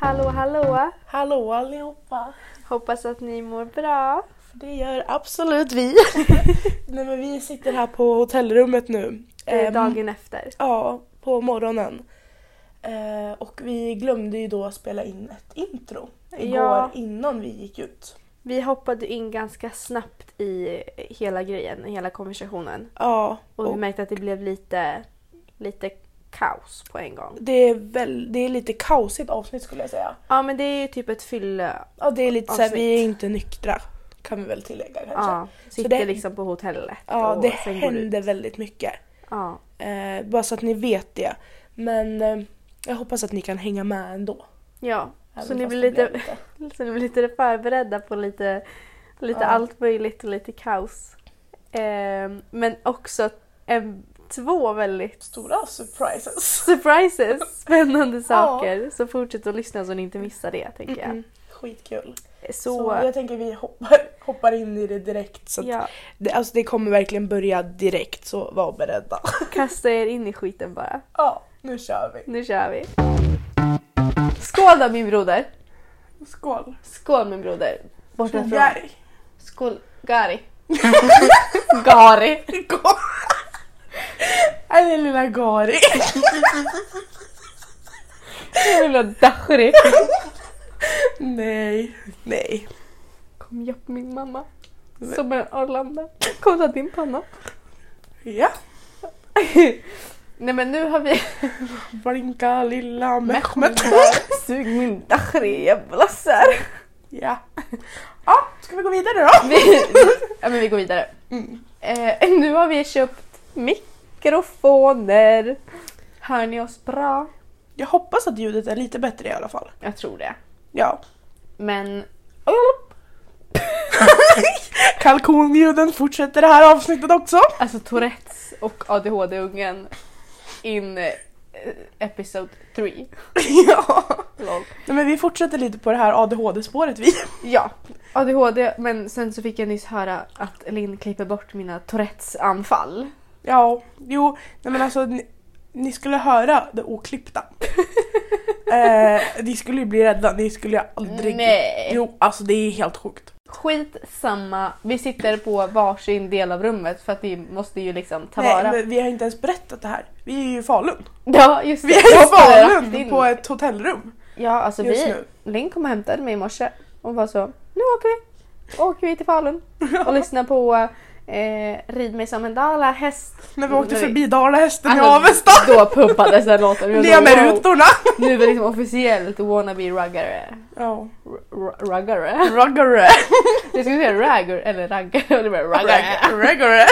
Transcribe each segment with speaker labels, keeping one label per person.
Speaker 1: Hallå, hallå!
Speaker 2: Hallå allihopa!
Speaker 1: Hoppas att ni mår bra.
Speaker 2: För det gör absolut vi. Nej men vi sitter här på hotellrummet nu.
Speaker 1: Det är
Speaker 2: Ehm,
Speaker 1: eh, dagen efter.
Speaker 2: Ja, på morgonen. Eh, och vi glömde ju då spela in ett intro igår
Speaker 1: Ja.
Speaker 2: innan vi gick ut.
Speaker 1: Vi hoppade in ganska snabbt i hela grejen, i hela konversationen.
Speaker 2: Ja,
Speaker 1: Och vi
Speaker 2: och
Speaker 1: märkte att det blev lite, lite kaos på en gång.
Speaker 2: det är, väl, det är lite kaosigt avsnitt skulle jag säga.
Speaker 1: Ja men det är ju typ ett fylle...
Speaker 2: Ja, det är lite såhär,
Speaker 1: Avsnitt.
Speaker 2: vi är inte nyktra kan vi väl tillägga kanske. Ja,
Speaker 1: Ja, sitter
Speaker 2: det-
Speaker 1: liksom på hotellet och
Speaker 2: det
Speaker 1: sen går ut.
Speaker 2: händer väldigt mycket.
Speaker 1: Ja,
Speaker 2: Eh, bara så att ni vet det. Men eh, jag hoppas att ni kan hänga med ändå.
Speaker 1: ja.
Speaker 2: även
Speaker 1: Så ni
Speaker 2: fast
Speaker 1: blir
Speaker 2: det
Speaker 1: lite-
Speaker 2: blev lite-
Speaker 1: Så ni blir lite förberedda på lite, lite
Speaker 2: Ja.
Speaker 1: allt möjligt och lite kaos. Ehm, men också en, två väldigt
Speaker 2: Stora surprises.
Speaker 1: surprises, spännande saker. Så fortsätt att lyssna så ni inte missar det tänker jag. Eh,
Speaker 2: Mm. Skitkul. Så...
Speaker 1: Så,
Speaker 2: jag tänker vi hoppar, hoppar in i det direkt. Så att
Speaker 1: ja,
Speaker 2: det, alltså det kommer verkligen börja direkt så var beredda.
Speaker 1: kasta er in i skiten bara.
Speaker 2: Ja, nu kör vi.
Speaker 1: Nu kör vi. Skål då min broder!
Speaker 2: Skål.
Speaker 1: Skål min broder! Borta från...
Speaker 2: Gary.
Speaker 1: Skål Gari. Gari.
Speaker 2: Skål. Nej, det är lilla Gari.
Speaker 1: Jävla dachrig.
Speaker 2: Nej, nej.
Speaker 1: Kom japp min mamma. Som en Arlanda. Kom ta din panna.
Speaker 2: Ja.
Speaker 1: Nej men nu har vi...
Speaker 2: Blinka lilla Mehmet.
Speaker 1: Sug min dachri jävla sär.
Speaker 2: Ja. Ja, ska vi gå vidare då? Mm.
Speaker 1: Vi, ja, men vi går vidare. Eh, nu har vi köpt mikrofoner. Hör ni oss bra?
Speaker 2: Jag hoppas att ljudet är lite bättre i alla fall.
Speaker 1: Jag tror det.
Speaker 2: Ja.
Speaker 1: Men
Speaker 2: Kalkonljuden fortsätter det här avsnittet också.
Speaker 1: alltså Tourettes och ADHD-ungen in eh, episode 3.
Speaker 2: ja. Nej, men vi fortsätter lite på det här ADHD-spåret vi.
Speaker 1: Ja, ADHD men sen så fick jag nyss höra att Linn klipper bort mina Tourettes anfall.
Speaker 2: Ja, jo, nej men alltså ni, ni skulle höra det oklippta. eh, ni skulle ju bli rädda, ni skulle ju aldrig...
Speaker 1: Nej.
Speaker 2: Jo, alltså det är helt sjukt.
Speaker 1: Skit samma, vi sitter på varsin del av rummet för att vi måste ju liksom ta
Speaker 2: nej,
Speaker 1: vara
Speaker 2: men vi har inte ens berättat det här. Vi är ju i Falun.
Speaker 1: Ja just det.
Speaker 2: Vi
Speaker 1: Jag
Speaker 2: är i
Speaker 1: hoppade rakt
Speaker 2: Falun
Speaker 1: in.
Speaker 2: på ett hotellrum
Speaker 1: Ja alltså
Speaker 2: just
Speaker 1: vi,
Speaker 2: nu.
Speaker 1: Linn kom och hämtade mig i morse och var så nu åker vi. Åker vi till Falun och lyssnar på eh, Rid mig som en dala häst.
Speaker 2: När vi åkte
Speaker 1: Nej.
Speaker 2: förbi Dalahästen i
Speaker 1: Alltså,
Speaker 2: Avesta.
Speaker 1: Då pumpades den låten. Vi var så,
Speaker 2: Ner med
Speaker 1: wow,
Speaker 2: rutorna!
Speaker 1: Nu är vi liksom officiellt wannabe ruggare.
Speaker 2: Ja.
Speaker 1: R- r- ruggare?
Speaker 2: Ruggare.
Speaker 1: Jag skulle säga ragger eller raggare. och det blev Ruggare.
Speaker 2: Ruggare.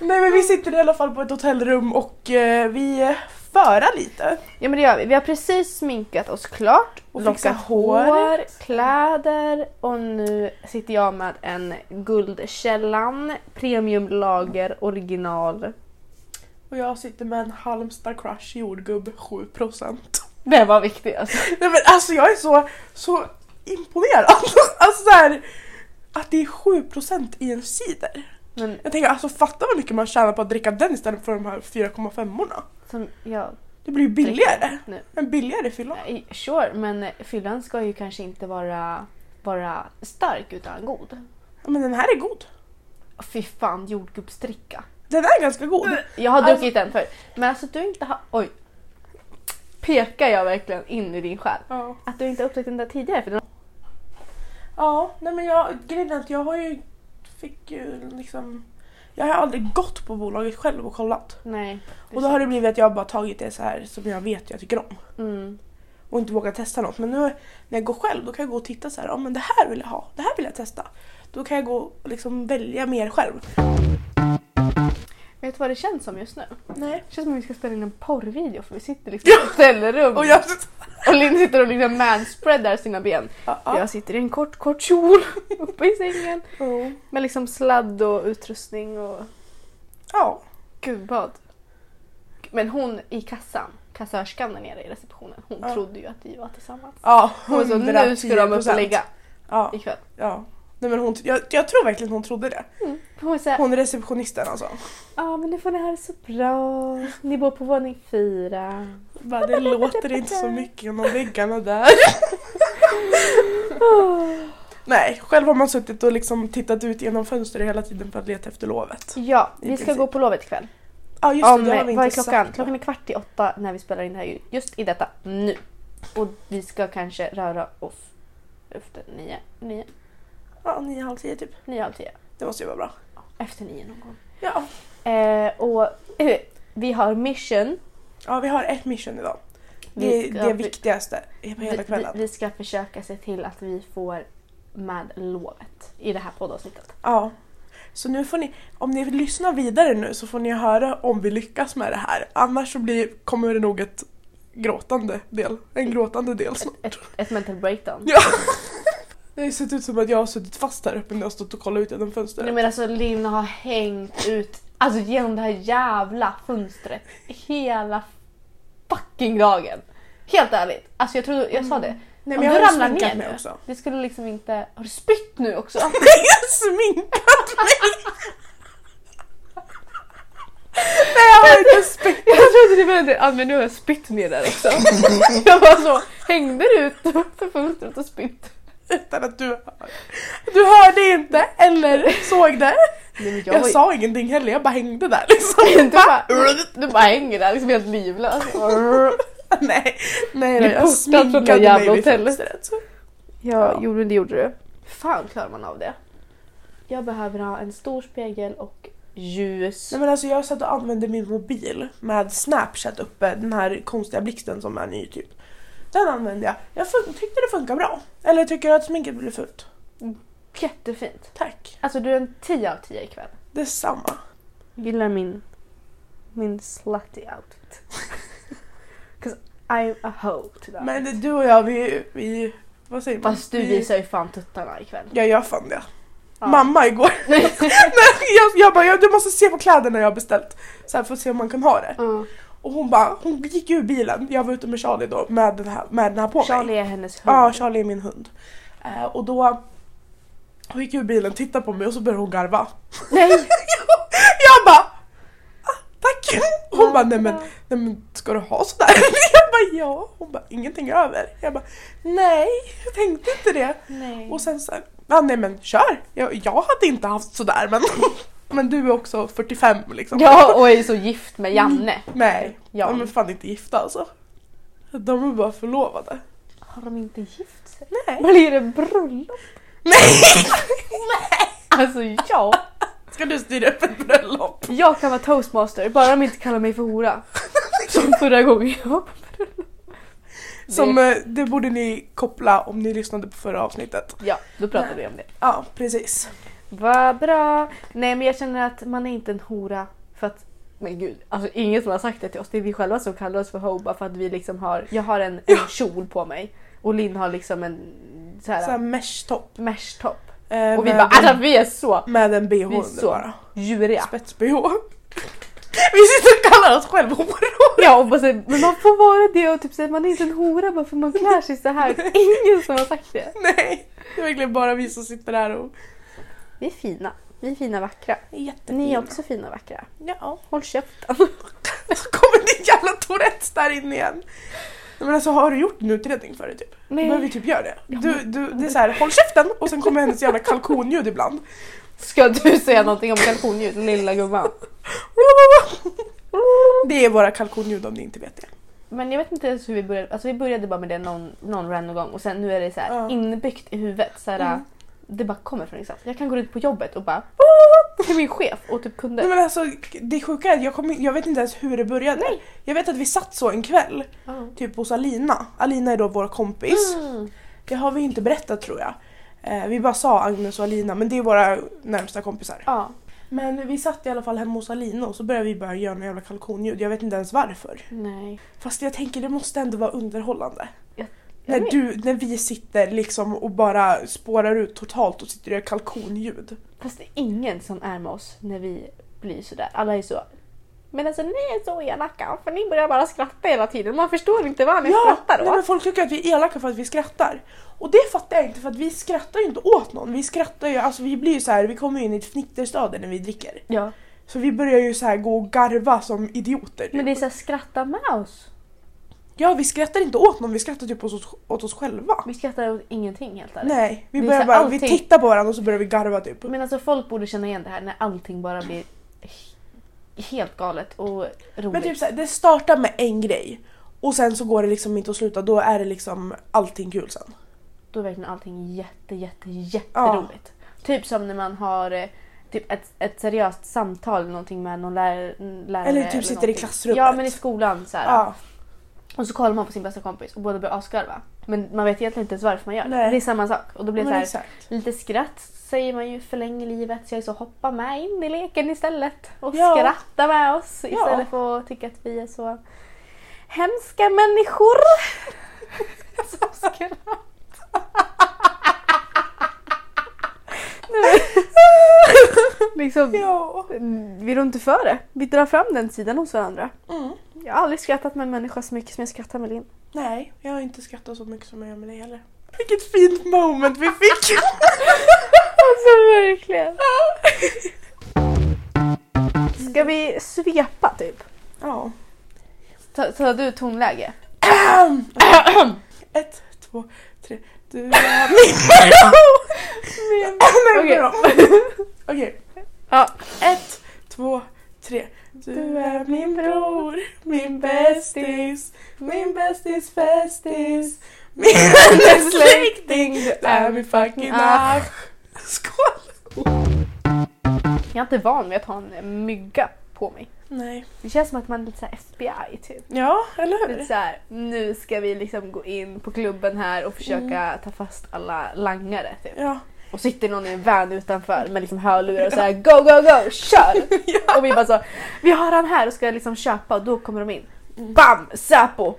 Speaker 2: Nej men vi sitter i alla fall på ett hotellrum och eh, vi förar lite.
Speaker 1: Ja men det gör vi. Vi har precis sminkat oss klart.
Speaker 2: Och
Speaker 1: lockat
Speaker 2: fixat hår.
Speaker 1: kläder och nu sitter jag med en Guldkällan premiumlager original.
Speaker 2: Och jag sitter med en Halmstad crush jordgubb 7%.
Speaker 1: Det var viktigt alltså.
Speaker 2: Nej men alltså jag är så, så imponerad. Alltså så här, att det är 7% i en cider.
Speaker 1: Men
Speaker 2: Jag tänker alltså fatta vad mycket man tjänar på att dricka den istället för de här 4,5orna.
Speaker 1: som jag
Speaker 2: Det blir ju billigare.
Speaker 1: nu.
Speaker 2: En billigare fylla.
Speaker 1: Nej, Sure, men fyllan ska ju kanske inte vara, vara stark utan god.
Speaker 2: Ja, Men den här är god.
Speaker 1: Fy fan, jordgubbsdricka.
Speaker 2: Den är ganska god.
Speaker 1: Jag har
Speaker 2: Alltså-
Speaker 1: druckit den förr. Men alltså du inte har... Oj. Pekar jag verkligen in i din själ?
Speaker 2: Ja,
Speaker 1: Att du inte har upptäckt den där tidigare för den
Speaker 2: ja nej men jag, grejen är att jag har ju, fick ju liksom jag har aldrig gått på bolaget själv och kollat.
Speaker 1: Nej.
Speaker 2: Och då har det blivit att jag bara tagit det så här som jag vet jag tycker om.
Speaker 1: Mm.
Speaker 2: och inte vågar testa något. Men nu när jag går själv då kan jag gå och titta så här, ja men det här vill jag ha, det här vill jag testa. Då kan jag gå och liksom välja mer själv.
Speaker 1: Vet du vad det känns som just nu?
Speaker 2: Nej.
Speaker 1: Det känns som att vi ska spela in en porrvideo för vi sitter liksom i ett hotellrum
Speaker 2: Och jag...
Speaker 1: och Linn sitter och liksom manspreadar sina ben.
Speaker 2: Ja, ja.
Speaker 1: Jag sitter i en kort, kort kjol uppe i sängen
Speaker 2: Ja.
Speaker 1: med liksom sladd och utrustning och
Speaker 2: ja.
Speaker 1: gud vad. Men hon i kassan, kassörskan där nere i receptionen, hon
Speaker 2: Ja.
Speaker 1: trodde ju att vi var tillsammans.
Speaker 2: Ja,
Speaker 1: Hon var så nu ska de upp och
Speaker 2: 110%.
Speaker 1: lägga
Speaker 2: Ja,
Speaker 1: ikväll.
Speaker 2: ja. Nej, men hon, jag, jag tror verkligen hon trodde det.
Speaker 1: Mm. Hon var såhär,
Speaker 2: Hon är receptionisten alltså.
Speaker 1: ja men nu får ni ha det så bra. Ni bor på våning fyra.
Speaker 2: Bara, det låter inte så mycket genom väggarna där.
Speaker 1: Åh.
Speaker 2: Nej, själv har man suttit och liksom tittat ut genom fönstret hela tiden för att leta efter lovet. Ja
Speaker 1: Ja,
Speaker 2: I
Speaker 1: vi ska
Speaker 2: princip.
Speaker 1: gå på lovet ikväll.
Speaker 2: ah, just
Speaker 1: Om,
Speaker 2: det, det har vi
Speaker 1: vad är
Speaker 2: inte
Speaker 1: klockan?
Speaker 2: sagt.
Speaker 1: Klockan är kvart i åtta när vi spelar in det här ju- just i detta nu. Och vi ska kanske röra oss efter nio, nio,
Speaker 2: Ja, nio, halv tio typ.
Speaker 1: nio, halv tio.
Speaker 2: Det måste ju vara bra.
Speaker 1: Efter nio någon gång.
Speaker 2: Ja.
Speaker 1: Eh, och eh, vi har mission.
Speaker 2: ja, vi har ett mission idag. Det
Speaker 1: Vi
Speaker 2: är
Speaker 1: ska-
Speaker 2: det viktigaste på
Speaker 1: Vi,
Speaker 2: hela
Speaker 1: vi,
Speaker 2: kvällen.
Speaker 1: vi ska försöka se till att vi får med lovet i det här poddavsnittet.
Speaker 2: Ja. Så nu får ni, om ni lyssnar vidare nu så får ni höra om vi lyckas med det här. Annars så blir, kommer det nog ett gråtande del. En gråtande del snart.
Speaker 1: Ett, ett mental breakdown.
Speaker 2: Ja! Det har sett ut som att jag har suttit fast här uppe när jag har stått och kollat ut genom fönstret.
Speaker 1: Nej men alltså Linn har hängt ut alltså genom det här jävla fönstret hela fucking dagen. Helt ärligt. Alltså jag trodde, jag
Speaker 2: Mm.
Speaker 1: sa det.
Speaker 2: Nej,
Speaker 1: Om
Speaker 2: men jag
Speaker 1: du
Speaker 2: har
Speaker 1: ramlar
Speaker 2: sminkat
Speaker 1: ner
Speaker 2: mig
Speaker 1: nu.
Speaker 2: också.
Speaker 1: Det skulle liksom inte... Har du spytt nu också?
Speaker 2: Jag har sminkat mig! Nej jag har inte sminkat
Speaker 1: Jag trodde du menade att men nu har jag spytt ner där också. jag var så, hängde du ut för fönstret och spytt?
Speaker 2: utan att du hör. Du hörde inte eller såg det.
Speaker 1: Nej, men jag,
Speaker 2: Jag,
Speaker 1: var-
Speaker 2: sa ingenting heller, jag bara hängde där liksom.
Speaker 1: du bara, du bara hänger där liksom helt livlös.
Speaker 2: nej, nej
Speaker 1: Du är
Speaker 2: då, jag
Speaker 1: portad från det
Speaker 2: sminkade
Speaker 1: jävla
Speaker 2: mig vid
Speaker 1: hotellet.
Speaker 2: fönstret.
Speaker 1: Ja, jo men det gjorde du. Fan klarar man av det? Jag behöver ha en stor spegel och ljus.
Speaker 2: Nej men alltså jag satt och använde min mobil med snapchat uppe, den här konstiga blixten som är ny typ. Den använde jag. Jag fun- tyckte det funkar bra. Eller tycker du att sminket blir fult?
Speaker 1: Jättefint.
Speaker 2: Tack.
Speaker 1: Alltså du är en 10 av 10 ikväll.
Speaker 2: Detsamma.
Speaker 1: Gillar min, min slutty outfit. Cause I'm a hoe today.
Speaker 2: Men det- du och jag vi, vi vad säger man?
Speaker 1: Fast du
Speaker 2: vi,
Speaker 1: visar ju fan tuttarna ikväll.
Speaker 2: Ja jag fann det.
Speaker 1: Ja.
Speaker 2: Mamma igår. Nej, jag, jag bara jag, du måste se på kläderna jag har beställt. Så här för att se om man kan ha det.
Speaker 1: Ja.
Speaker 2: Och hon bara, hon gick ur bilen. Jag var ute med Charlie då med den här, med den här på mig.
Speaker 1: Charlie är hennes hund.
Speaker 2: Ja, Charlie är min hund. Eh, och då hon gick ur bilen, tittade på mig och så började hon garva.
Speaker 1: Nej!
Speaker 2: Jag bara "Ah, Tack! Hon
Speaker 1: Ja,
Speaker 2: bara nej men,
Speaker 1: ja.
Speaker 2: nej men ska du ha sådär? Jag bara ja. Hon bara ingenting över. Jag bara nej, jag tänkte inte det.
Speaker 1: Nej.
Speaker 2: Och sen så här, ja nej men kör. Jag, jag hade inte haft sådär men, men du är också 45 liksom.
Speaker 1: Ja och är så gift med Janne.
Speaker 2: Nej,
Speaker 1: Ja.
Speaker 2: de är fan inte gifta alltså. De är bara förlovade.
Speaker 1: Har de inte gift sig?
Speaker 2: Nej.
Speaker 1: Blir det bröllop?
Speaker 2: Nej!
Speaker 1: Alltså ja.
Speaker 2: Ska du styra upp ett bröllop?
Speaker 1: Jag kan vara toastmaster bara de inte kallar mig för hora. Som förra gången jag var på bröllop.
Speaker 2: Som,
Speaker 1: det,
Speaker 2: eh, det borde ni koppla om ni lyssnade på förra avsnittet.
Speaker 1: Ja, då pratade vi om det.
Speaker 2: Ja, precis.
Speaker 1: Vad bra! Nej men jag känner att man är inte en hora för att men gud, alltså ingen som har sagt det till oss. Det är vi själva som kallar oss för hoe bara för att vi liksom har, jag har en, en kjol på mig och Linn har liksom en så
Speaker 2: Så här
Speaker 1: här
Speaker 2: mesh-topp.
Speaker 1: mesh-topp.
Speaker 2: Eh,
Speaker 1: Och vi
Speaker 2: med
Speaker 1: bara
Speaker 2: en-
Speaker 1: alltså vi är så
Speaker 2: Med en bh
Speaker 1: Vi är
Speaker 2: under
Speaker 1: så-
Speaker 2: bara.
Speaker 1: djuriga.
Speaker 2: Spets-bh. Vi sitter och kallar oss själva horor.
Speaker 1: Ja och bara så, här, men man får vara det och typ säga man är inte en hora bara för man klär sig så här. Ingen som har sagt det.
Speaker 2: Nej, det är verkligen bara vi som sitter här och
Speaker 1: Vi är fina. Vi är fina vackra.
Speaker 2: är jättefina.
Speaker 1: Ni är också fina och vackra.
Speaker 2: Ja.
Speaker 1: Håll käften.
Speaker 2: Så kommer ditt jävla Tourettes där inne igen. Nej, Men alltså har du gjort en utredning för det typ?
Speaker 1: Nej.
Speaker 2: Men vi typ gör det.
Speaker 1: Ja,
Speaker 2: Du, du, det är så här, håll käften och sen kommer hennes jävla kalkonljud ibland.
Speaker 1: Ska du säga någonting om kalkonljud lilla gumman?
Speaker 2: Det är våra kalkonljud om ni inte vet det.
Speaker 1: Men jag vet inte ens hur vi började. Alltså vi började bara med det någon, någon random gång och sen nu är det så här
Speaker 2: Ja.
Speaker 1: inbyggt i huvudet. Så här,
Speaker 2: Mm.
Speaker 1: Det bara kommer från ingenstans. Jag kan gå ut på jobbet och bara till min chef och typ
Speaker 2: Nej,
Speaker 1: kunder.
Speaker 2: men alltså, det sjuka är att jag, kommer- jag vet inte ens hur det började.
Speaker 1: Nej.
Speaker 2: Jag vet att vi satt så en kväll, typ hos Alina. Alina är då vår kompis.
Speaker 1: Mm.
Speaker 2: Det har vi inte berättat tror jag. Eh, vi bara sa Agnes och Alina, men det är våra närmsta kompisar.
Speaker 1: Ja.
Speaker 2: Men vi satt i alla fall hemma hos Alina och så började vi börja göra några jävla kalkonljud. Jag vet inte ens varför.
Speaker 1: Nej.
Speaker 2: Fast jag tänker det måste ändå vara underhållande.
Speaker 1: Jag-
Speaker 2: När,
Speaker 1: jag vet.
Speaker 2: du, när vi sitter liksom och bara spårar ut totalt och sitter och gör kalkonljud.
Speaker 1: Fast det är ingen som är med oss när vi blir sådär. Alla är så Men alltså ni är så elaka för ni börjar bara skratta hela tiden. Man förstår inte vad ni
Speaker 2: Ja,
Speaker 1: skrattar
Speaker 2: nej, men
Speaker 1: åt.
Speaker 2: folk tycker att vi är elaka för att vi skrattar. Och det fattar jag inte för att vi skrattar ju inte åt någon. Vi skrattar ju, alltså vi blir ju så här, vi kommer ju in i ett fnitterstadie när vi dricker.
Speaker 1: Ja.
Speaker 2: Så vi börjar ju så här gå och garva som idioter.
Speaker 1: Men det är såhär, skratta med oss.
Speaker 2: Ja, vi skrattar inte åt någon, vi skrattar typ åt oss, åt oss själva.
Speaker 1: Vi skrattar åt ingenting helt ärligt.
Speaker 2: Nej, vi
Speaker 1: Det är
Speaker 2: börjar
Speaker 1: så
Speaker 2: bara,
Speaker 1: här,
Speaker 2: vi
Speaker 1: allting-
Speaker 2: tittar på varandra och så börjar vi garva typ.
Speaker 1: Men alltså folk borde känna igen det här när allting bara blir he- helt galet och roligt.
Speaker 2: Men typ så här, det startar med en grej och sen så går det liksom inte att sluta, då är det liksom allting kul sen.
Speaker 1: Då är verkligen allting jätte, jätte, jätteroligt. Typ som när man har eh, typ ett, ett seriöst samtal eller någonting med någon lärare. lärare
Speaker 2: Eller typ sitter i
Speaker 1: någonting.
Speaker 2: klassrummet.
Speaker 1: Ja men i skolan så här.
Speaker 2: Ja.
Speaker 1: Och så kollar man på sin bästa kompis och båda börjar asgarva. Men man vet egentligen inte ens varför man gör det.
Speaker 2: Nej.
Speaker 1: Det är samma sak. Och då blir det
Speaker 2: Men
Speaker 1: så här,
Speaker 2: exakt.
Speaker 1: Lite skratt säger man ju förlänger livet så jag är så hoppa med in i leken istället och
Speaker 2: Ja.
Speaker 1: skratta med oss
Speaker 2: Ja.
Speaker 1: istället för att tycka att vi är så hemska människor. som skrattar. liksom,
Speaker 2: Ja.
Speaker 1: Vi rår inte för det. Vi drar fram den sidan hos varandra.
Speaker 2: Mm.
Speaker 1: Jag har aldrig skrattat med en människa så mycket som jag skrattar med Linn.
Speaker 2: Nej, jag har inte skrattat så mycket som jag gör med dig heller. Vilket fint moment vi fick!
Speaker 1: Alltså verkligen. Ska vi svepa typ?
Speaker 2: ja.
Speaker 1: Ta- Tar du tonläge?
Speaker 2: Ett, två, tre. Du är min... Nej,
Speaker 1: Okej.
Speaker 2: bra. Okej.
Speaker 1: Ja.
Speaker 2: Ett, två, tre. Du är min bror, min bästis, min bästis bästis, min vännes släkting. Du är min fucking
Speaker 1: Ah.
Speaker 2: asch. Skål!
Speaker 1: Jag är inte van vid att ha en mygga på mig.
Speaker 2: Nej.
Speaker 1: Det känns som att man är lite såhär FBI typ.
Speaker 2: Ja, eller
Speaker 1: Lite
Speaker 2: hur?
Speaker 1: såhär, nu ska vi liksom gå in på klubben här och försöka
Speaker 2: Mm.
Speaker 1: ta fast alla langare typ.
Speaker 2: Ja.
Speaker 1: Och sitter någon i en van utanför med liksom hörlurar och såhär go, go, go, kör! Och vi bara så, vi har han här och ska liksom köpa och då kommer de in. Bam! Säpo!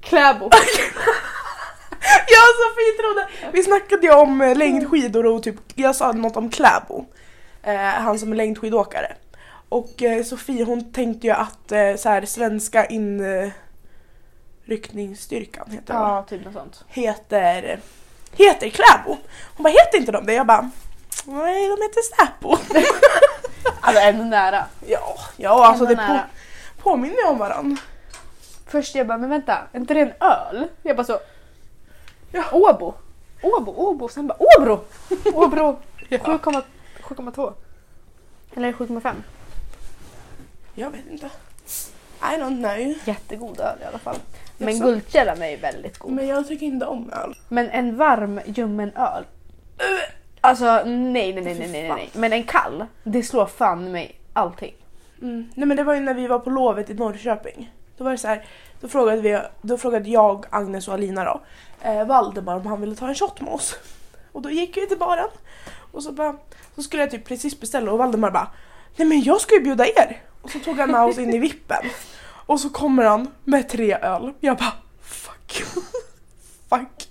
Speaker 1: Kläbo!
Speaker 2: Ja, Sofie trodde... Vi snackade ju om eh, längdskidor och typ, jag sa något om Kläbo. Eh, han som är längdskidåkare. Och eh, Sofie hon tänkte ju att eh, så här, svenska inryckningsstyrkan heter det, va?
Speaker 1: Ja, typ något sånt.
Speaker 2: heter, heter Kläbo. Hon bara, heter inte de det? Jag bara, nej de heter Säpo.
Speaker 1: Alltså ändå nära.
Speaker 2: ja, ja alltså
Speaker 1: Ändå
Speaker 2: det på,
Speaker 1: nära.
Speaker 2: påminner ju om varandra.
Speaker 1: Först jag bara, men vänta, är inte det en öl? Jag bara så, ja. Åbo. Åbo, Åbo, sen bara Åbro! Åbro 7,2. 7,2. Eller 7,5.
Speaker 2: Jag vet inte. I don't know.
Speaker 1: Jättegod öl i alla fall. Men
Speaker 2: Jaså?
Speaker 1: Guldkällan är ju väldigt god.
Speaker 2: Men jag tycker inte om öl.
Speaker 1: Men en varm ljummen öl. Ugh. Alltså nej, nej, nej, nej, nej, nej. Men en kall, det slår fan mig allting.
Speaker 2: Mm. Nej men det var ju när vi var på lovet i Norrköping. Då var det så här, då frågade, vi, då frågade jag, Agnes och Alina då, eh, Valdemar om han ville ta en shot med oss. Och då gick vi till baren och så, bara, så skulle jag typ precis beställa och Valdemar bara Nej men jag ska ju bjuda er! Och så tog han med oss in i vippen. Och så kommer han med tre öl. Jag bara fuck. fuck.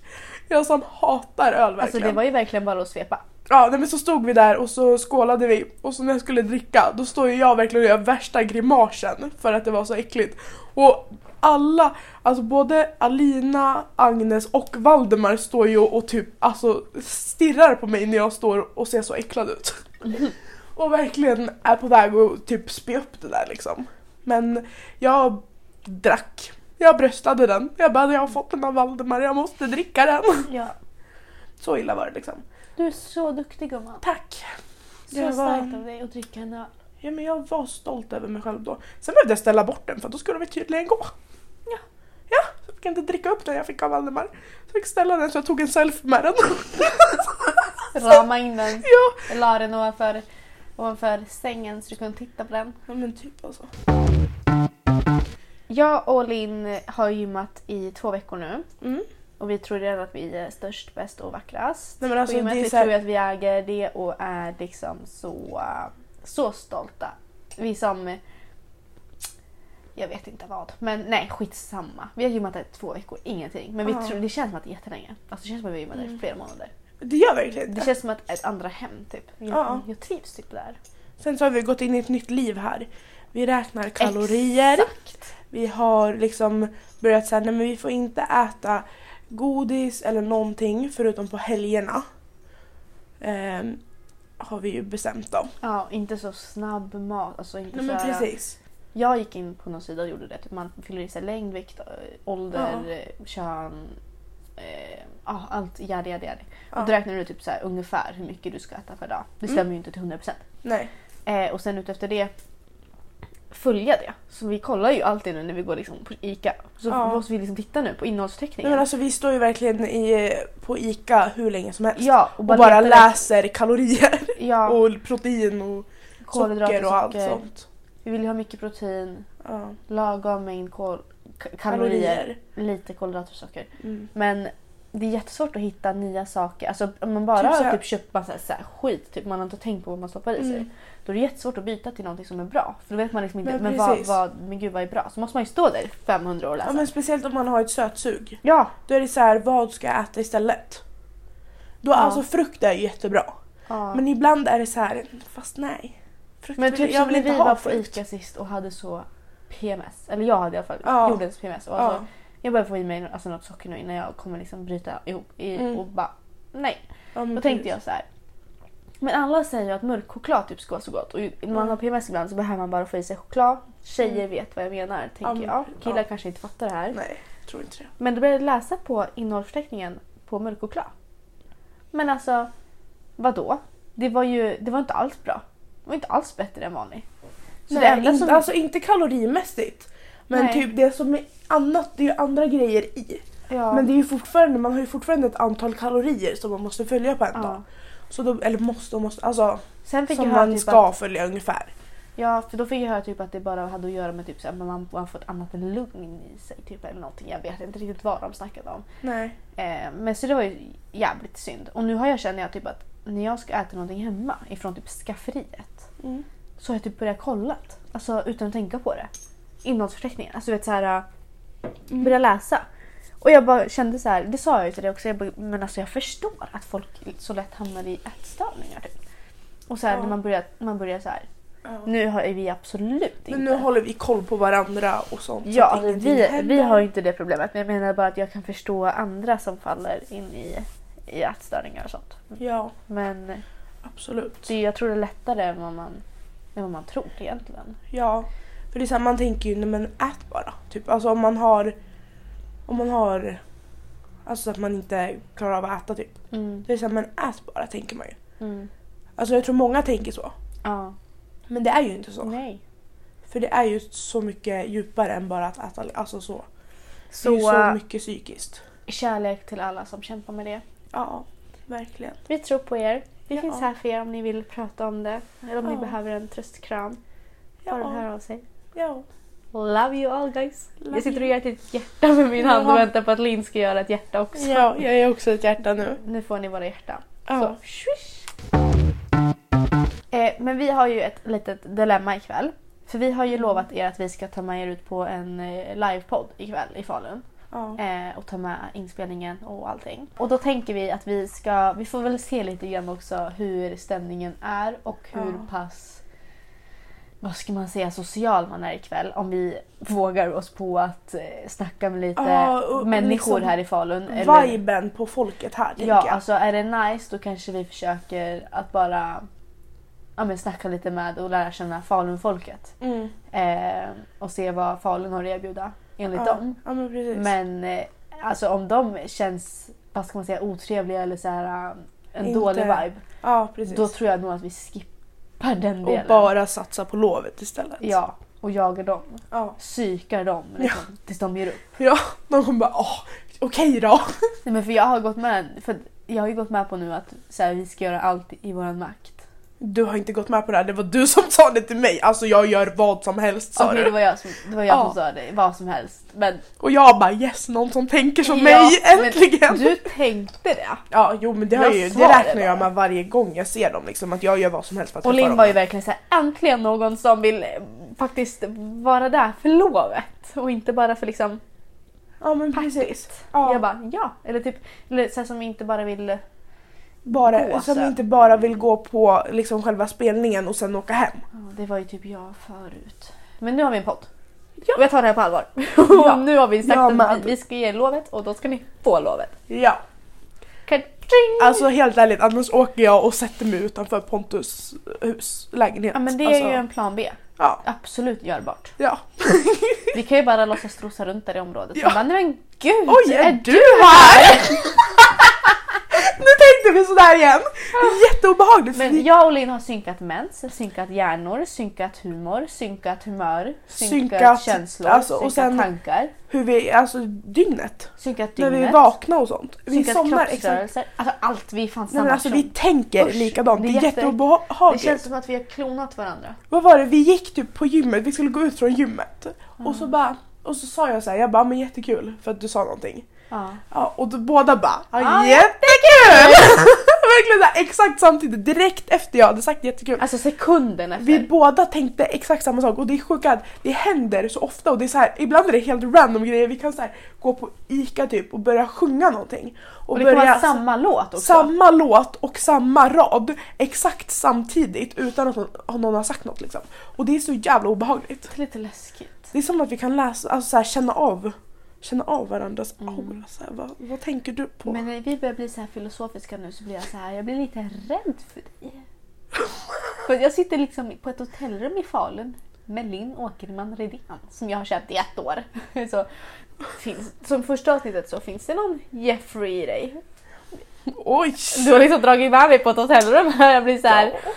Speaker 2: Jag som hatar öl verkligen.
Speaker 1: Alltså det var ju verkligen bara att svepa.
Speaker 2: Ja, nej, men så stod vi där och så skålade vi och så när jag skulle dricka då står ju jag verkligen och gör värsta grimasen för att det var så äckligt. Och alla, alltså både Alina, Agnes och Valdemar står ju och typ alltså stirrar på mig när jag står och ser så äcklad ut. Och verkligen är på väg att typ spy upp det där liksom. Men jag drack. Jag bröstade den. Jag bara, jag har fått den av Valdemar, jag måste dricka den.
Speaker 1: Ja.
Speaker 2: Så illa var det liksom.
Speaker 1: Du är så duktig gumman.
Speaker 2: Tack!
Speaker 1: Så
Speaker 2: Jag var-
Speaker 1: starkt av dig att dricka en öl.
Speaker 2: Ja men jag var stolt över mig själv då. Sen behövde jag ställa bort den för då skulle vi tydligen gå.
Speaker 1: Ja.
Speaker 2: Ja, så jag kan inte dricka upp den jag fick av Valdemar. Så jag fick ställa den så jag tog en selfie med den.
Speaker 1: Rama in den,
Speaker 2: ja.
Speaker 1: la den ovanför, ovanför sängen så du kunde titta på den.
Speaker 2: ja men typ alltså.
Speaker 1: Jag och Linn har gymmat i två veckor nu
Speaker 2: Mm.
Speaker 1: och vi tror redan att vi är störst, bäst och vackrast.
Speaker 2: Nej men
Speaker 1: Alltså,
Speaker 2: alltså
Speaker 1: och i och med att
Speaker 2: det är
Speaker 1: vi
Speaker 2: så
Speaker 1: tror
Speaker 2: här,
Speaker 1: att vi äger det och är liksom så, eh, så stolta. Vi som... eh, Jag vet inte vad. Men nej, skitsamma. Vi har gymmat där två veckor, ingenting. Men vi
Speaker 2: Ja. Mm.
Speaker 1: tror, det känns som att det är jättelänge. Alltså, det känns som att vi har gymmat där i flera månader.
Speaker 2: det gör verkligen
Speaker 1: Det
Speaker 2: inte.
Speaker 1: känns som att ett andra hem typ. Jag,
Speaker 2: Ja.
Speaker 1: jag trivs typ där.
Speaker 2: Sen så har vi gått in i ett nytt liv här. vi räknar kalorier.
Speaker 1: Exakt.
Speaker 2: Vi har liksom börjat säga nej men vi får inte äta godis eller någonting förutom på helgerna. Ehm, har vi ju bestämt då.
Speaker 1: Ja, inte så snabb mat. Alltså inte
Speaker 2: Nej men
Speaker 1: så här-
Speaker 2: precis.
Speaker 1: Jag gick in på någon sida och gjorde det. Typ man fyller i sig längd, vikt, ö, ålder, eh, kön. Eh, ja, allt yadi yadi yadi.
Speaker 2: Ja. Mm.
Speaker 1: Och då räknar du typ så här, ungefär hur mycket du ska äta per dag. Det stämmer ju inte till 100%.
Speaker 2: Nej.
Speaker 1: Eh, och sen utefter det följa det. Så vi kollar ju alltid nu när vi går liksom på ICA. Så
Speaker 2: Ja.
Speaker 1: måste vi liksom titta nu på
Speaker 2: nej
Speaker 1: innehållsförteckningen.
Speaker 2: men alltså vi står ju verkligen i, på ICA hur länge som helst.
Speaker 1: ja, och
Speaker 2: och
Speaker 1: bara,
Speaker 2: bara,
Speaker 1: letar
Speaker 2: läser kalorier
Speaker 1: efter- Ja,
Speaker 2: och protein och socker och allt
Speaker 1: socker.
Speaker 2: sånt.
Speaker 1: Vi vill ju ha mycket protein,
Speaker 2: Ja.
Speaker 1: lagom mängd kol- k- kalorier, lite kolhydrater och socker.
Speaker 2: Mm.
Speaker 1: Men det är jättesvårt att hitta nya saker. Alltså om man bara
Speaker 2: Typ så
Speaker 1: har
Speaker 2: här-
Speaker 1: typ köpt massa så här skit, typ man har inte tänkt på vad man stoppar i sig.
Speaker 2: Mm.
Speaker 1: Då är det jättesvårt att byta till någonting som är bra. För då vet man liksom inte, men,
Speaker 2: Men
Speaker 1: vad,
Speaker 2: precis.
Speaker 1: vad, men gud vad är bra? Så måste man ju stå där i 500 år och läsa.
Speaker 2: Ja men speciellt om man har ett sötsug.
Speaker 1: ja.
Speaker 2: Då är det så här, vad ska jag äta istället? Då,
Speaker 1: Ja.
Speaker 2: Alltså frukt är ju jättebra.
Speaker 1: ja. Men,
Speaker 2: Men ibland är det så här, fast nej. Frukt vill-
Speaker 1: typ
Speaker 2: jag
Speaker 1: som
Speaker 2: vill
Speaker 1: när
Speaker 2: inte
Speaker 1: vi
Speaker 2: ha
Speaker 1: var på
Speaker 2: frukt.
Speaker 1: ICA sist och hade så PMS. Eller jag hade i alla fall
Speaker 2: Ja.
Speaker 1: jordens PMS. Och alltså,
Speaker 2: Ja.
Speaker 1: Jag behöver få i mig alltså, något socker nu innan jag kommer liksom bryta ihop i,
Speaker 2: Mm.
Speaker 1: och bara nej.
Speaker 2: Ja, men
Speaker 1: Då tänkte jag
Speaker 2: precis.
Speaker 1: så här. Men alla säger ju att mörk choklad typ ska vara så gott och ju- när man har PMS ibland så behöver man bara få i sig choklad. Tjejer
Speaker 2: Mm.
Speaker 1: vet vad jag menar
Speaker 2: Ja,
Speaker 1: tänker
Speaker 2: men-
Speaker 1: jag. Killar
Speaker 2: ja.
Speaker 1: kanske inte fattar det här.
Speaker 2: Nej, jag tror inte det.
Speaker 1: Men då började jag läsa på innehållsförteckningen på mörk choklad. Men alltså, vad då? Det var ju det var inte alls bra. Det var inte alls bättre än vanlig. Så det
Speaker 2: nej,
Speaker 1: enda
Speaker 2: inte,
Speaker 1: som...
Speaker 2: Alltså inte kalorimässigt. Men
Speaker 1: Nej.
Speaker 2: typ det som är annat, det är ju andra grejer i.
Speaker 1: ja,
Speaker 2: Men det är ju fortfarande, man har ju fortfarande ett antal kalorier som man måste följa på en dag.
Speaker 1: ja.
Speaker 2: Så då, eller måste och måste, alltså
Speaker 1: Sen fick
Speaker 2: som
Speaker 1: jag höra
Speaker 2: man
Speaker 1: typ
Speaker 2: ska
Speaker 1: att,
Speaker 2: följa ungefär.
Speaker 1: Ja, för då fick jag höra typ att det bara hade att göra med typ så här, man, man får ett annat lugn i sig typ eller någonting. Jag vet inte riktigt vad de snackade om.
Speaker 2: Nej.
Speaker 1: Eh, men så det var ju jävligt synd. Och nu har jag känner jag typ att när jag ska äta någonting hemma ifrån typ skafferiet
Speaker 2: Mm.
Speaker 1: så har jag typ börjat kolla. Alltså utan att tänka på det. Innehållsförteckningen. Alltså du vet såhär,
Speaker 2: Mm.
Speaker 1: börja läsa. Och jag bara kände så här, det sa jag ju till dig också, jag bara, men alltså jag förstår att folk så lätt hamnar i ätstörningar typ. Och så här,
Speaker 2: Ja.
Speaker 1: när man börjar, man börjar så här,
Speaker 2: Ja.
Speaker 1: nu har vi absolut inte...
Speaker 2: Men nu håller vi koll på varandra och sånt. så
Speaker 1: Ja,
Speaker 2: att
Speaker 1: alltså,
Speaker 2: ingenting
Speaker 1: vi,
Speaker 2: händer.
Speaker 1: vi har ju inte det problemet men jag menar bara att jag kan förstå andra som faller in i, i ätstörningar och sånt.
Speaker 2: Ja,
Speaker 1: Men
Speaker 2: absolut.
Speaker 1: det, jag tror det är lättare än vad man, än vad man tror egentligen.
Speaker 2: Ja, för det är så här, man tänker ju nej men ät bara. Typ alltså om man har om man har alltså att man inte klarar av att äta typ.
Speaker 1: Mm.
Speaker 2: Det är så här, men ät bara tänker man ju.
Speaker 1: Mm.
Speaker 2: Alltså jag tror många tänker så,
Speaker 1: Ja.
Speaker 2: men det är ju inte så.
Speaker 1: Nej.
Speaker 2: För det är ju så mycket djupare än bara att äta alltså så. det är
Speaker 1: Så, äh,
Speaker 2: ju så mycket psykiskt.
Speaker 1: kärlek till alla som kämpar med det.
Speaker 2: Ja, verkligen.
Speaker 1: Vi tror på er. Vi
Speaker 2: Ja.
Speaker 1: finns här för er om ni vill prata om det. Eller om ni
Speaker 2: Ja.
Speaker 1: behöver en tröstkram. Bara
Speaker 2: Ja,
Speaker 1: hör av sig.
Speaker 2: ja.
Speaker 1: Love you all guys.
Speaker 2: Love
Speaker 1: jag sitter och
Speaker 2: you.
Speaker 1: gör typ ett litet hjärta med min hand och
Speaker 2: Ja.
Speaker 1: väntar på att Linn ska göra ett hjärta också.
Speaker 2: ja, jag är också ett hjärta nu.
Speaker 1: Nu får ni våra hjärtan.
Speaker 2: Ja.
Speaker 1: Så, swish. Eh, men vi har ju ett litet dilemma ikväll. För vi har
Speaker 2: Mm.
Speaker 1: ju lovat er att vi ska ta med er ut på en eh, livepodd ikväll i Falun.
Speaker 2: Ja.
Speaker 1: Eh, och ta med inspelningen och allting. Och då tänker vi att vi ska, vi får väl se lite grann också hur stämningen är och hur
Speaker 2: Ja.
Speaker 1: pass, vad ska man säga, social man är ikväll. Om vi vågar oss på att eh, snacka med lite
Speaker 2: Ja, och
Speaker 1: människor
Speaker 2: liksom
Speaker 1: här i Falun. eller-
Speaker 2: Viben på folket här tänker
Speaker 1: Ja,
Speaker 2: jag.
Speaker 1: alltså är det nice då kanske vi försöker att bara ja, men snacka lite med och lära känna Falunfolket.
Speaker 2: Mm.
Speaker 1: Eh, och se vad Falun har att erbjuda enligt
Speaker 2: ja.
Speaker 1: dem.
Speaker 2: Ja, men precis.
Speaker 1: Men eh, alltså om de känns, vad ska man säga, otrevliga eller så här, eh, en
Speaker 2: Inte-
Speaker 1: dålig vibe.
Speaker 2: ja, precis.
Speaker 1: Då tror jag nog att vi skippar den
Speaker 2: Och
Speaker 1: delen.
Speaker 2: bara satsa på lovet istället.
Speaker 1: Ja, och jagar dem.
Speaker 2: ja.
Speaker 1: Psykar dem liksom, tills de ger upp.
Speaker 2: ja de kommer bara åh, okej då.
Speaker 1: Nej, men för jag har gått med, för jag har ju gått med på nu att så här, vi ska göra allt i våran makt.
Speaker 2: Du har inte gått med på det här, det var du som sa det till mig. Alltså jag gör vad som helst sa
Speaker 1: Okej, det
Speaker 2: du.
Speaker 1: var jag som, det var jag
Speaker 2: Ja.
Speaker 1: som sa det. Vad som helst. Men
Speaker 2: Och jag bara yes, någon som tänker som
Speaker 1: Ja,
Speaker 2: mig
Speaker 1: men
Speaker 2: äntligen.
Speaker 1: du tänkte det.
Speaker 2: Ja jo men det, har
Speaker 1: Jag
Speaker 2: jag ju,
Speaker 1: sa det
Speaker 2: det räknar jag
Speaker 1: bara.
Speaker 2: med varje gång jag ser dem liksom att jag gör vad som helst för att
Speaker 1: Och
Speaker 2: träffa
Speaker 1: Linn
Speaker 2: dem.
Speaker 1: var ju verkligen såhär, äntligen någon som vill eh, faktiskt vara där för lovet. Och inte bara för liksom
Speaker 2: Ja men precis.
Speaker 1: packet.
Speaker 2: Ja,
Speaker 1: Jag bara, ja. Eller typ, eller såhär som inte bara vill...
Speaker 2: bara,
Speaker 1: gå alltså.
Speaker 2: som
Speaker 1: sen.
Speaker 2: inte bara vill gå på liksom själva spelningen och sen åka hem.
Speaker 1: Ja, Det var ju typ jag förut. Men nu har vi en podd.
Speaker 2: Ja.
Speaker 1: Och jag tar det här på allvar.
Speaker 2: Ja.
Speaker 1: Och nu har vi sagt
Speaker 2: Jag
Speaker 1: att
Speaker 2: med.
Speaker 1: vi, vi ska ge er lovet och då ska ni få lovet.
Speaker 2: Ja,
Speaker 1: Ka-ching!
Speaker 2: alltså helt ärligt annars åker jag och sätter mig utanför Pontus hus, lägenhet.
Speaker 1: Ja men det är
Speaker 2: alltså,
Speaker 1: ju en plan B.
Speaker 2: Ja.
Speaker 1: Absolut görbart.
Speaker 2: ja.
Speaker 1: Vi kan ju bara låtsas strosa runt där i området.
Speaker 2: Ja.
Speaker 1: Ja. Bara, nej men gud!
Speaker 2: Oj, är du här? nu tänkte vi sådär igen. Det är jätteobehagligt. för
Speaker 1: Men
Speaker 2: ni-
Speaker 1: jag och Linn har synkat mens, synkat hjärnor, synkat humor, synkat humör, synkat,
Speaker 2: Synkat,
Speaker 1: känslor,
Speaker 2: alltså, och
Speaker 1: synkat
Speaker 2: sen-
Speaker 1: tankar,
Speaker 2: Hur vi, alltså dygnet.
Speaker 1: synkat
Speaker 2: När
Speaker 1: dygnet,
Speaker 2: vi är vakna och sånt. Vi
Speaker 1: synkat
Speaker 2: somnar exakt.
Speaker 1: kroppsrörelser. Alltså allt, vi är fan
Speaker 2: Nej,
Speaker 1: samma
Speaker 2: men alltså vi
Speaker 1: person.
Speaker 2: tänker
Speaker 1: Usch,
Speaker 2: likadant.
Speaker 1: det är
Speaker 2: Det är
Speaker 1: jätte- Det
Speaker 2: jätteobehagligt.
Speaker 1: känns som att vi har klonat varandra.
Speaker 2: Vad var det? Vi gick typ på gymmet, vi skulle gå ut från gymmet. Och
Speaker 1: Ah.
Speaker 2: så bara och så sa jag så här, jag bara men jättekul för att du sa någonting.
Speaker 1: Ja.
Speaker 2: Ja, och då båda bara ja,
Speaker 1: Ja,
Speaker 2: jättekul! Verkligen så här, exakt samtidigt, direkt efter jag hade sagt jättekul.
Speaker 1: Alltså sekunden efter.
Speaker 2: Vi båda tänkte exakt samma sak och det är sjukt att det händer så ofta och det är så här, ibland är det helt random grejer. Vi kan så här, gå på ICA typ och börja sjunga någonting.
Speaker 1: och det kan
Speaker 2: börja-
Speaker 1: vara samma låt också.
Speaker 2: samma låt och samma rad exakt samtidigt utan att någon, någon har sagt något liksom. Och det är så jävla obehagligt.
Speaker 1: Det är lite läskigt.
Speaker 2: Det är som att vi kan läsa, alltså så här, känna av känna av varandras aura. Så här, vad, vad tänker du på?
Speaker 1: Mm. Men när vi börjar bli så här filosofiska nu så blir jag så här, jag blir lite rädd för dig. för jag sitter liksom på ett hotellrum i Falun med Linn Åkerman Redén som jag har känt i ett år. så, finns, som första avsnittet så finns det någon Jeffrey i dig.
Speaker 2: Oj!
Speaker 1: Du har liksom dragit med mig på ett hotellrum här. Jag blir så här.
Speaker 2: Ja.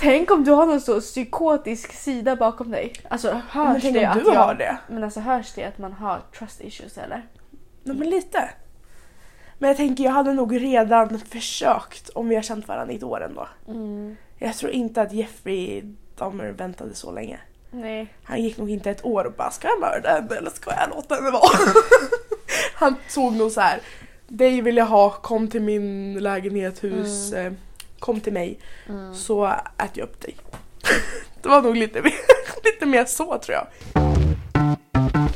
Speaker 1: Tänk om du har någon så psykotisk sida bakom dig. Alltså
Speaker 2: Men
Speaker 1: hörs
Speaker 2: tänk
Speaker 1: det
Speaker 2: om
Speaker 1: att
Speaker 2: du
Speaker 1: jag...
Speaker 2: har det?
Speaker 1: Men alltså hörs det att man har trust issues eller?
Speaker 2: Nej men lite. Men jag tänker jag hade nog redan försökt om vi har känt varandra i ett år ändå. Jag tror inte att Jeffrey Dahmer väntade så länge.
Speaker 1: Nej.
Speaker 2: Han gick nog inte ett år och bara ska jag mörda henne eller ska jag låta henne vara? han såg nog så här. dig vill jag ha, kom till min lägenhet, hus, eh, kom till mig så äter jag upp dig. det var nog lite mer, lite mer så tror jag.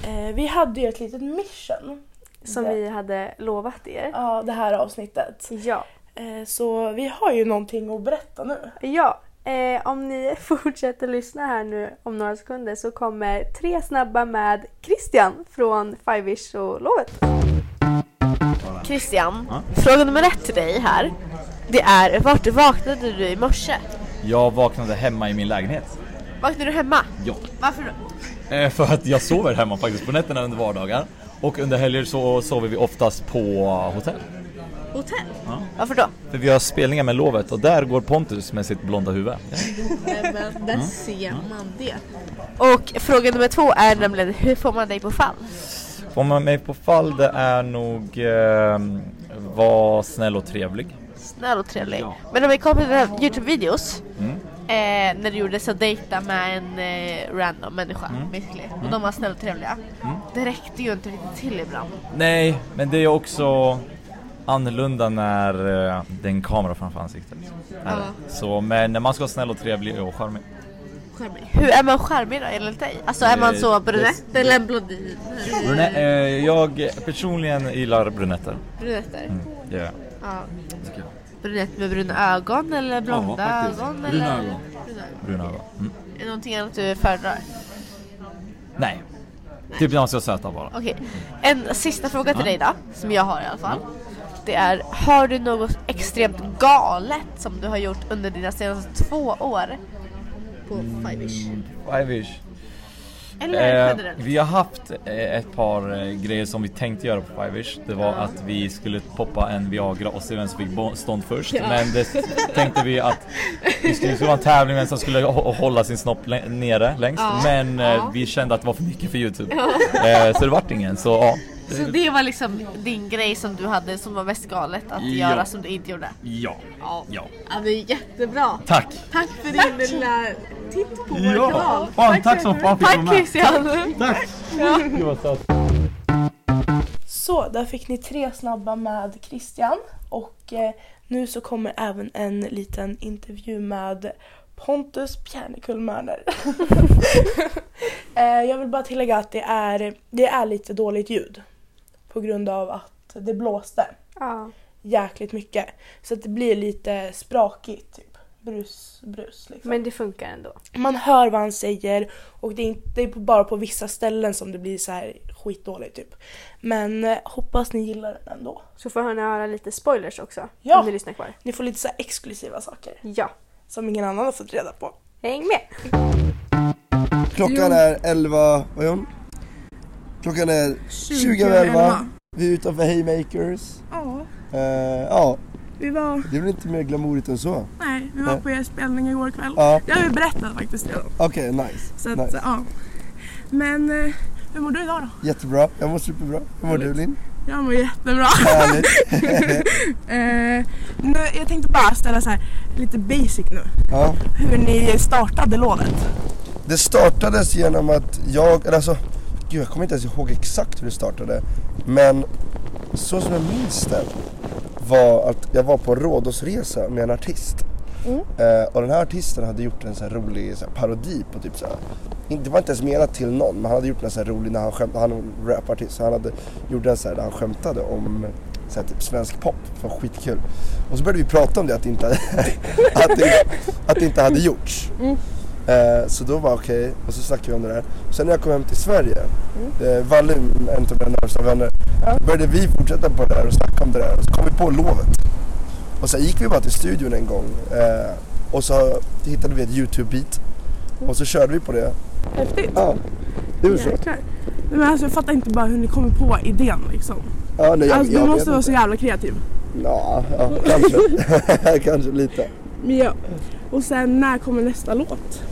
Speaker 2: Eh, vi hade ju ett litet mission
Speaker 1: Som
Speaker 2: Det-
Speaker 1: vi hade lovat er.
Speaker 2: ja, det här avsnittet.
Speaker 1: Ja.
Speaker 2: Eh, så vi har ju någonting att berätta nu.
Speaker 1: Ja, eh, om ni fortsätter lyssna här nu om några sekunder så kommer tre snabba med Christian från Five Ish och lovet. Christian, fråga nummer ett till dig här. Det är vart vaknade du i morse?
Speaker 3: Jag vaknade hemma i min lägenhet.
Speaker 1: Vaknade du hemma?
Speaker 3: Ja.
Speaker 1: Varför då?
Speaker 3: Eh, För att jag sover hemma faktiskt på nätterna under vardagar. Och under helger så sover vi oftast på hotell.
Speaker 1: Hotell? Varför då?
Speaker 3: För vi har spelningar med lovet och där går Pontus med sitt blonda huvud.
Speaker 4: Där ser man det.
Speaker 1: Och fråga nummer två är nämligen hur får man dig på fall?
Speaker 3: Får man mig på fall det är nog eh, var snäll och trevlig.
Speaker 4: Snäll och trevlig.
Speaker 3: Ja. Mm.
Speaker 4: Men om vi kollar på dina Youtube-videos. Eh, när du gjorde så dejta med en eh, random människa
Speaker 3: Mm.
Speaker 4: basically. Och de var snälla och trevliga. Det räckte ju inte riktigt till ibland.
Speaker 3: Nej, men det är också annorlunda när eh, det är en kamera framför ansiktet. Är det. Så, men man ska vara snäll och trevlig och charmig.
Speaker 4: Charmig. Hur är man charmig då enligt dig? Alltså är man
Speaker 3: Eh,
Speaker 4: så
Speaker 3: det-
Speaker 4: brunett eller en blondin?
Speaker 3: Brune- eh, jag personligen gillar brunetter.
Speaker 4: Brunetter?
Speaker 3: Mm, det gör jag.
Speaker 4: Ja.
Speaker 3: Tycker jag.
Speaker 4: Brunett med bruna ögon eller blonda
Speaker 3: faktiskt.
Speaker 4: ögon?
Speaker 3: Bruna
Speaker 4: eller?
Speaker 3: ögon.
Speaker 4: Bruna ögon.
Speaker 3: Bruna ögon. Mm.
Speaker 4: Är det någonting annat du föredrar?
Speaker 3: Nej. Typ när man ska söta bara.
Speaker 4: Okej, en sista fråga till dig då, som jag har i alla fall. Det är, har du något extremt galet som du har gjort under dina senaste två år? På Five-ish.
Speaker 3: Five-ish.
Speaker 4: Eller
Speaker 3: Eh,
Speaker 4: generellt?
Speaker 3: vi har haft eh, ett par eh, grejer som vi tänkte göra på Five-ish. Det var att vi skulle poppa en Viagra och se vem som fick bo- stånd först. Men det s- tänkte vi att vi skulle, det skulle vara en tävling vem som skulle hå- hålla sin snopp lä- nere längst. Men eh, vi kände att det var för mycket för Youtube. Eh, så det vart ingen. Så ja.
Speaker 4: Så det var liksom din grej som du hade som var mest galet att
Speaker 3: Ja.
Speaker 4: göra som du inte gjorde?
Speaker 3: Ja.
Speaker 4: Ja.
Speaker 3: Ja.
Speaker 4: Ja men jättebra!
Speaker 3: Tack!
Speaker 4: Tack för din lilla titt på
Speaker 3: Ja! Fan, tack som fan för att du
Speaker 4: Tack
Speaker 3: var med.
Speaker 4: Christian!
Speaker 3: Tack! Gud vad söt.
Speaker 2: Så, där fick ni tre snabba med Christian. Och eh, nu så kommer även en liten intervju med Pontus Bjärnekullmörner. eh, jag vill bara tillägga att det är, det är lite dåligt ljud. På grund av att det blåste
Speaker 1: Ja.
Speaker 2: jäkligt mycket. Så att det blir lite sprakigt typ.
Speaker 5: brus, brus liksom.
Speaker 1: Men det funkar ändå.
Speaker 5: Man hör vad han säger och det är inte det är på- bara på vissa ställen som det blir så här skitdåligt typ. Men eh, hoppas ni gillar den ändå.
Speaker 1: Så får ni höra lite spoilers också.
Speaker 5: Ja.
Speaker 1: Om ni lyssnar kvar.
Speaker 5: Ni får lite så här exklusiva saker
Speaker 1: Ja.
Speaker 5: som ingen annan har fått reda på.
Speaker 1: Häng med!
Speaker 6: Klockan är 11, vad är hon? Klockan är 20 över 11. Vi är utanför Haymakers.
Speaker 2: Ja,
Speaker 6: Eh, ja,
Speaker 2: vi var,
Speaker 6: det är väl inte mer glamourigt än så?
Speaker 2: nej, vi var på er spelning igår kväll.
Speaker 6: Ja,
Speaker 2: Jag har ju berättat faktiskt redan.
Speaker 6: okej, nice.
Speaker 2: Så att,
Speaker 6: nice.
Speaker 2: ja. Men eh, hur mår du idag då?
Speaker 6: Jättebra, jag mår superbra. Hur mår du Linn?
Speaker 2: Jag mår jättebra.
Speaker 6: Härligt.
Speaker 2: Eh, nu, jag tänkte bara ställa så här lite basic nu.
Speaker 6: Ja.
Speaker 2: Hur ni startade lånet.
Speaker 6: Det startades genom att jag, eller alltså, gud jag kommer inte ens ihåg exakt hur det startade. Men så som jag minns det var att jag var på en Rhodos-resa med en artist. Eh, och den här artisten hade gjort en så här rolig så här parodi på typ så här. Det var inte ens menat till någon men han hade gjort en så här rolig när han skämtade, han är en rapartist, så han hade gjort en så här där han skämtade om så här typ svensk pop, det var skitkul. Och så började vi prata om det att det inte, att det, att det inte hade gjorts. Eh, så då var okej, och så snackade vi om det där. Sen när jag kom hem till Sverige,
Speaker 2: Mm.
Speaker 6: eh, Valle, en av mina närmsta vänner, började vi fortsätta på det där och snacka om det där. Och så kom vi på lovet. Och sen gick vi bara till studion en gång eh, och så hittade vi ett YouTube-beat.
Speaker 2: Mm.
Speaker 6: Och så körde vi på det.
Speaker 2: Häftigt.
Speaker 6: Ja, det var så.
Speaker 2: Jäklar. Nej, Men alltså, jag fattar inte bara hur ni kommer på idén liksom.
Speaker 6: Ja, nej, jag,
Speaker 2: alltså,
Speaker 6: jag
Speaker 2: du
Speaker 6: vet
Speaker 2: måste vara
Speaker 6: inte.
Speaker 2: så jävla kreativ.
Speaker 6: Ja, ja kanske. kanske lite.
Speaker 2: Men ja. Och sen när kommer nästa låt?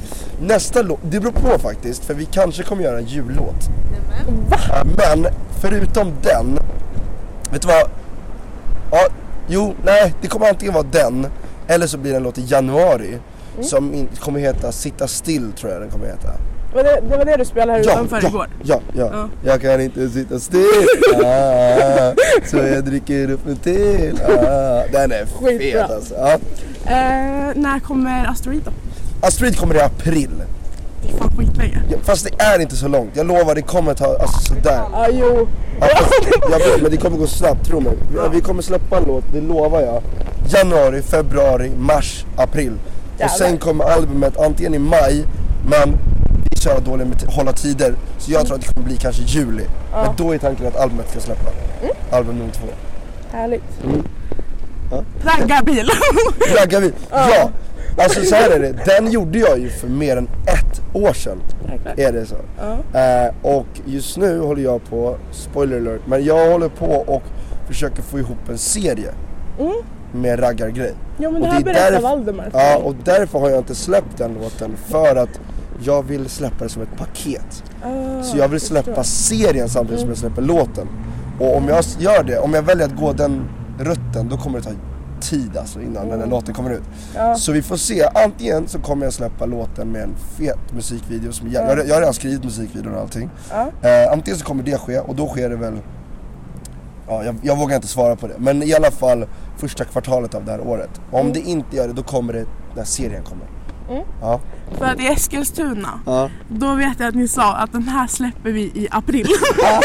Speaker 6: Nästa låt, det beror på faktiskt för vi kanske kommer göra en jullåt. Va? Men förutom den, vet du vad? Ja, jo, nej, det kommer antingen vara den eller så blir det en låt i januari
Speaker 2: Mm.
Speaker 6: som in, kommer heta Sitta still tror jag den kommer heta.
Speaker 2: Var det, det var det du spelade här
Speaker 6: Ja,
Speaker 2: utanför
Speaker 6: ja,
Speaker 2: igår?
Speaker 6: ja, ja,
Speaker 2: Ja.
Speaker 6: jag kan inte sitta still. Ah, så jag dricker upp en till. Ah, den är
Speaker 2: Skitbra.
Speaker 6: fet alltså. Ja.
Speaker 2: Eh, när kommer Asteroid då?
Speaker 6: Astrid kommer i april.
Speaker 2: Det är fan skitlänge.
Speaker 6: Ja, Fast det är inte så långt, jag lovar det kommer ta, alltså sådär.
Speaker 2: Ja, jo.
Speaker 6: Ja, fast- jag vet, men det kommer gå snabbt, tro mig. Ja, Vi kommer släppa en låt, det lovar jag. Januari, februari, mars, april. Och sen kommer albumet antingen i maj, men vi kör dåligt med att hålla tider. Så jag tror att det kommer bli kanske juli. Men då är tanken att albumet ska släppa. Album nummer två.
Speaker 2: Härligt.
Speaker 6: Mm. Ja.
Speaker 2: Raggarbil.
Speaker 6: Raggar vi? Ja! Alltså så här är det, den gjorde jag ju för mer än ett år sedan. Är det så? Eh, och just nu håller jag på, spoiler alert, men jag håller på och försöker få ihop en serie
Speaker 2: Mm.
Speaker 6: med raggargrej.
Speaker 2: ja men
Speaker 6: Och
Speaker 2: det här
Speaker 6: det är
Speaker 2: berättar
Speaker 6: därför-
Speaker 2: Valdemar för
Speaker 6: Ja,
Speaker 2: mig.
Speaker 6: och därför har jag inte släppt den låten för att jag vill släppa det som ett paket.
Speaker 2: Ah,
Speaker 6: Så jag vill släppa serien samtidigt som jag släpper låten. Och om jag gör det, om jag väljer att gå den rutten, då kommer det ta tid alltså innan den här låten kommer ut.
Speaker 2: Ja.
Speaker 6: Så vi får se, antingen så kommer jag släppa låten med en fet musikvideo som jag, jag, jag har redan skrivit musikvideon och allting.
Speaker 2: Ja.
Speaker 6: Eh, antingen så kommer det ske och då sker det väl, ja, jag, jag vågar inte svara på det, men i alla fall första kvartalet av det här året. Och om det inte gör det, då kommer det när serien kommer. Ja.
Speaker 2: För att i Eskilstuna,
Speaker 6: Ja.
Speaker 2: då vet jag att ni sa att den här släpper vi i april.
Speaker 6: Ja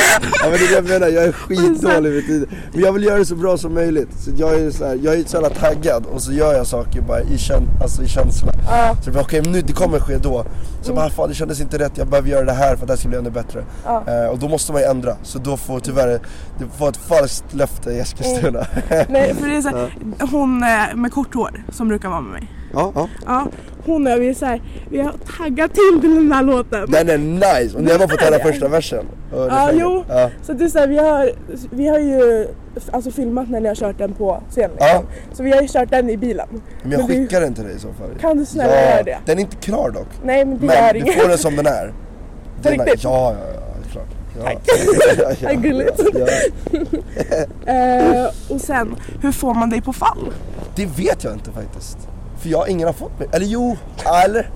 Speaker 6: men det är det jag menar, jag är skitdålig med tiden. Men jag vill göra det så bra som möjligt. Så jag är så, här, jag är så jävla taggad och så gör jag saker bara i, kän, alltså i känsla.
Speaker 2: Ja. Mm.
Speaker 6: Så jag bara, okej nu, det kommer ske då. Så bara fan det kändes inte rätt, jag behöver göra det här för att det här ska bli ännu bättre.
Speaker 2: Ja.
Speaker 6: Eh, och då måste man ju ändra, så då får tyvärr, det får ett falskt löfte i Eskilstuna.
Speaker 2: Nej, för det är så här, hon eh, med kort hår som brukar vara med mig.
Speaker 6: ja, ja.
Speaker 2: Ja, hon och vi är så här, vi har taggat till till den här låten.
Speaker 6: Den är nice, och när jag var på den här första versen. och
Speaker 2: Ja,
Speaker 6: refrängen.
Speaker 2: jo.
Speaker 6: Ja.
Speaker 2: Så det är så här, vi har, vi har ju alltså, filmat när ni har kört den på scenen. liksom. Så vi har ju kört den i bilen.
Speaker 6: Men jag
Speaker 2: Men vi-
Speaker 6: skickar den till dig i så fall.
Speaker 2: Kan du snälla göra det?
Speaker 6: Den är inte klar dock.
Speaker 2: Nej men det gör
Speaker 6: Men du
Speaker 2: inget.
Speaker 6: får den som den är.
Speaker 2: På
Speaker 6: Den är-
Speaker 2: riktigt?
Speaker 6: Ja, ja, ja, det är klart. Ja. Tack.
Speaker 2: Vad gulligt.
Speaker 6: Ja,
Speaker 2: Eh, och sen, hur får man dig på fall?
Speaker 6: Det vet jag inte faktiskt. För jag, ingen har fått mig. Eller jo, eller?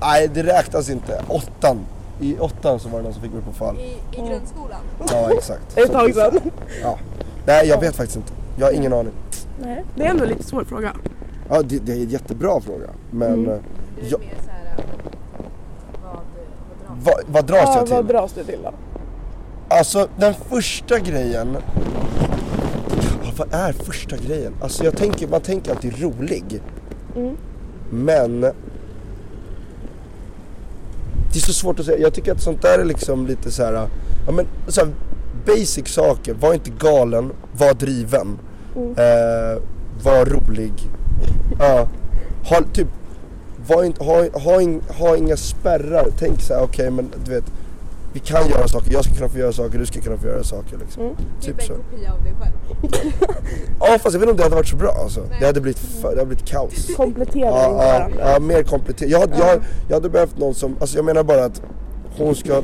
Speaker 6: Nej, det räknas inte. Åttan. I åttan så var det någon som fick mig på fall.
Speaker 7: I, i
Speaker 2: Mm.
Speaker 7: grundskolan.
Speaker 6: Ja, exakt.
Speaker 2: Ett tag sedan.
Speaker 6: Ja. Nej, jag vet faktiskt inte. Jag har ingen aning.
Speaker 2: Det är ändå en lite svår fråga.
Speaker 6: Ja, det, det är en jättebra fråga. Men
Speaker 2: Mm.
Speaker 6: eh,
Speaker 7: Du är
Speaker 6: Ja.
Speaker 7: mer så här, vad, vad drar
Speaker 6: vad, vad dras jag till?
Speaker 2: vad dras du till då?
Speaker 6: Alltså den första grejen Ja, Vad är första grejen? Alltså jag tänker, man tänker alltid rolig
Speaker 1: Mm.
Speaker 6: Men det är så svårt att säga. Jag tycker att sånt där är liksom lite så här, ja men så här, basic saker. Var inte galen, var driven. Eh, var rolig. Ja. ha, typ, var inte, ha, ha, in, ha inga spärrar. Tänk så här, okej men du vet. Vi kan göra saker, jag ska kunna få göra saker, du ska kunna få göra saker liksom.
Speaker 7: Typ
Speaker 6: Typ
Speaker 7: en
Speaker 6: så.
Speaker 7: kopia av dig själv.
Speaker 6: Ja fast jag vet inte om det hade varit så bra alltså. Det hade blivit, fa- det hade blivit kaos.
Speaker 5: Komplettera
Speaker 6: Ja, ja,
Speaker 5: varandra.
Speaker 6: ja, mer kompletterande. Jag, hade- jag, jag hade behövt någon som, alltså jag menar bara att hon ska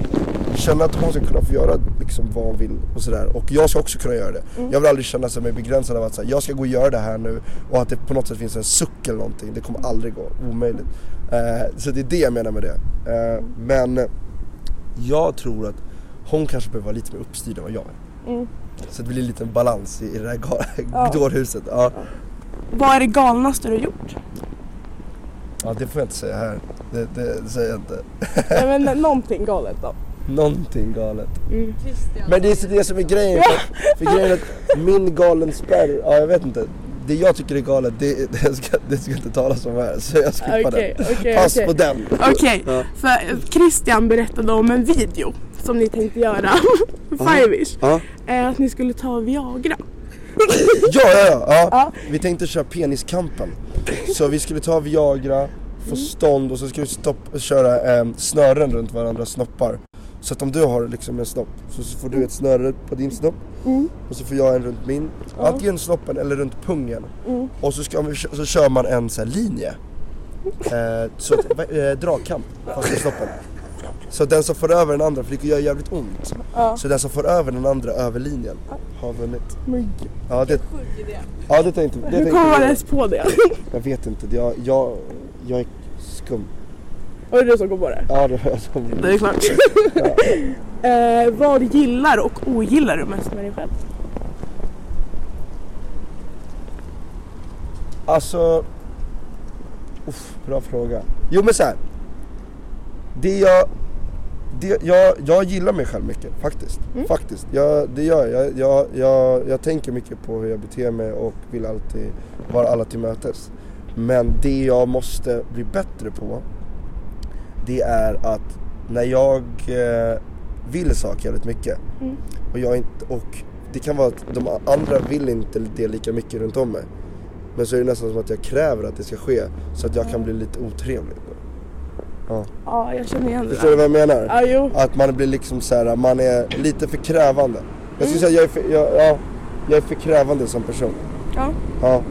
Speaker 6: känna att hon ska kunna få göra liksom vad hon vill och sådär. Och jag ska också kunna göra det. Jag vill aldrig känna så här mig begränsad av att så här, jag ska gå och göra det här nu och att det på något sätt finns en suck eller någonting. Det kommer aldrig gå, omöjligt. Eh, så det är det jag menar med det. Eh, men jag tror att hon kanske behöver vara lite mer uppstyrd än vad jag är.
Speaker 5: Mm.
Speaker 6: Så det blir en liten balans i, i det här ga- dårhuset. Ja.
Speaker 5: Vad är det galnaste du har gjort?
Speaker 6: ja, det får jag inte säga här. Det, det säger jag inte.
Speaker 5: Nej, men, någonting galet då.
Speaker 6: Någonting galet.
Speaker 7: Christian.
Speaker 6: Men det är så det som är grejen. För, för grejen är att min galen spärr, ja jag vet inte. Det jag tycker är galet, det, det, ska, det ska inte talas om här. Så jag skippar
Speaker 5: Okej,
Speaker 6: den.
Speaker 5: okej,
Speaker 6: Pass
Speaker 5: okej.
Speaker 6: på den.
Speaker 5: Okej, för eh, Christian berättade om en video som ni tänkte göra. Fivish.
Speaker 6: Ja.
Speaker 5: Eh, Att ni skulle ta Viagra.
Speaker 6: Ja, ja, ja, ja. Vi tänkte köra peniskampen. Så vi skulle ta Viagra, få stånd och så skulle vi stopp, köra eh, snören runt varandras snoppar. Så att om du har liksom en snopp så så får du ett snöre på din snopp och så får jag en runt min. Antingen snoppen eller runt pungen. Och så, ska, man- så kör man en så här linje. Eh, så att, va- eh, dragkamp fast i snoppen. Så den som får över den andra, för det gör jävligt ont. Så den som får över den andra över linjen har vunnit. Ja, det,
Speaker 7: Sjuk idé.
Speaker 6: Ja det tänkte, det
Speaker 5: Hur
Speaker 6: tänkte
Speaker 5: kom man
Speaker 6: jag.
Speaker 5: ens på det?
Speaker 6: Jag vet inte, jag, jag, jag är skum.
Speaker 5: Var det du som kom på det?
Speaker 6: Ja det var jag som...
Speaker 5: Det är klart. eh, vad gillar och ogillar du mest med dig själv?
Speaker 6: Alltså... Uff, bra fråga. Jo men så här. Det jag... Det, jag, jag gillar mig själv mycket faktiskt. Faktiskt. Jag, det gör jag. jag. Jag, jag. Jag tänker mycket på hur jag beter mig och vill alltid vara alla till mötes. Men det jag måste bli bättre på det är att när jag eh, vill saker jävligt mycket och jag inte, och det kan vara att de andra vill inte det lika mycket runt om mig. Men så är det nästan som att jag kräver att det ska ske så att jag kan bli lite otrevlig.
Speaker 5: Ja, jag känner igen det
Speaker 6: Förstår du
Speaker 5: där.
Speaker 6: vad jag menar?
Speaker 5: Ja, jo.
Speaker 6: Att man blir liksom så här, man är lite för krävande. Jag
Speaker 7: Mm.
Speaker 6: skulle säga att jag är för, jag, ja, jag är för krävande som person.
Speaker 5: Ja.
Speaker 6: Ja.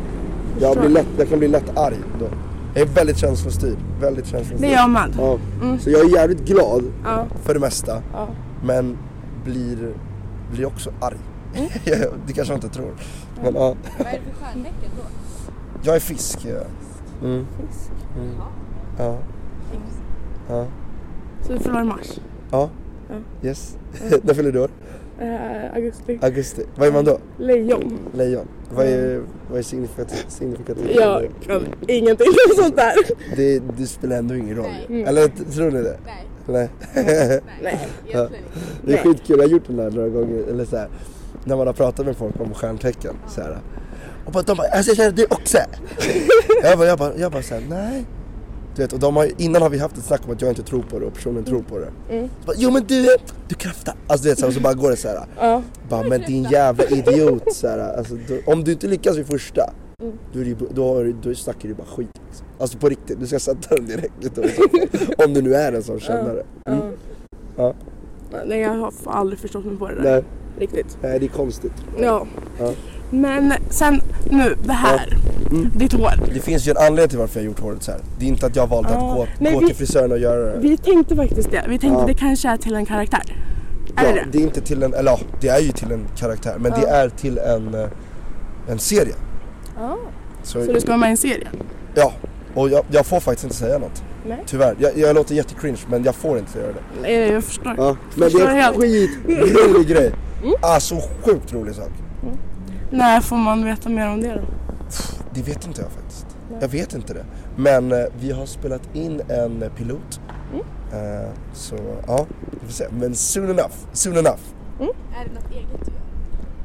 Speaker 6: Jag, blir lätt, jag kan bli lätt arg då. Jag är väldigt känslostyrd. Väldigt känslostyrd.
Speaker 5: Det gör man.
Speaker 6: Ja.
Speaker 7: Mm.
Speaker 6: Så jag är jävligt glad
Speaker 5: Ja.
Speaker 6: för det mesta.
Speaker 5: Ja.
Speaker 6: Men blir, blir också arg. det kanske jag inte tror. Men ja.
Speaker 7: Mm. Vad är det för stjärntecken då?
Speaker 6: Jag är fisk. Ja. Mm. Mm. Ja. Ja.
Speaker 5: Så du förlorar mars.
Speaker 6: Ja.
Speaker 5: Ja.
Speaker 6: Yes. När fyller du år?
Speaker 5: Eh, augusti.
Speaker 6: Augusti. Vad är man då?
Speaker 5: Lejon.
Speaker 6: Lejon. Vad är, vad är signifikativt? signifikativt?
Speaker 5: Jag kan ingenting sånt där.
Speaker 6: Det, det spelar ändå ingen roll ju.
Speaker 5: Mm.
Speaker 6: Eller t- tror ni det?
Speaker 7: Nej,
Speaker 6: Nej.
Speaker 7: nej. Egentligen inte.
Speaker 6: Det är
Speaker 5: Nej.
Speaker 6: skitkul, jag har gjort den där några gånger. Eller så här, när man har pratat med folk om stjärntecken. Så här, och bara, de bara, alltså jag känner du också. jag bara, jag bara, jag bara så här, nej. Du vet, och de har, ju- innan har vi haft ett snack om att jag inte tror på det och personen tror på det. Så bara, jo men du, du kraftar. Alltså du vet, så, här, och så bara går det så här.
Speaker 5: Ja.
Speaker 6: Bara, men din jävla idiot. Så här, alltså, du, om du inte lyckas vid första,
Speaker 5: Mm.
Speaker 6: då, är det, ju- då, har du- då snackar du bara skit. Liksom. Alltså på riktigt, du ska sätta den direkt. Utan, om du nu är en sån kännare. Mm. Ja.
Speaker 5: Nej, jag har fan aldrig förstått mig på det där.
Speaker 6: Nej,
Speaker 5: Riktigt.
Speaker 6: nej, det är konstigt.
Speaker 5: Ja.
Speaker 6: Ja.
Speaker 5: Men sen nu, det här.
Speaker 6: Mm.
Speaker 5: Ditt hår.
Speaker 6: Det finns ju en anledning till varför jag gjort håret så här. Det är inte att jag valde att
Speaker 5: Ah,
Speaker 6: gå,
Speaker 5: nej,
Speaker 6: gå
Speaker 5: vi-
Speaker 6: till frisören och göra det.
Speaker 5: Vi tänkte faktiskt det. Vi tänkte
Speaker 6: Ja.
Speaker 5: det kanske är till en karaktär. Är
Speaker 6: ja,
Speaker 5: det det?
Speaker 6: det är inte till en, eller ja, det är ju till en karaktär. Men det är till en, eh, en serie. Så,
Speaker 5: Så du ska vara med i en serie?
Speaker 6: Ja, och jag, jag får faktiskt inte säga något.
Speaker 5: Nej.
Speaker 6: Tyvärr. Jag, jag låter jättecringe men jag får inte göra det.
Speaker 5: Nej, jag förstår.
Speaker 6: Men det
Speaker 5: Förstår
Speaker 6: är en
Speaker 5: helt.
Speaker 6: skitrolig grej. Alltså sjukt rolig sak.
Speaker 5: När får man veta mer om det då?
Speaker 6: Det vet inte jag faktiskt. Jag vet inte det. Men eh, vi har spelat in en eh, pilot.
Speaker 5: Mm.
Speaker 6: Eh, så ja, vi får se. Men soon enough, soon enough.
Speaker 7: Är det något eget du gör?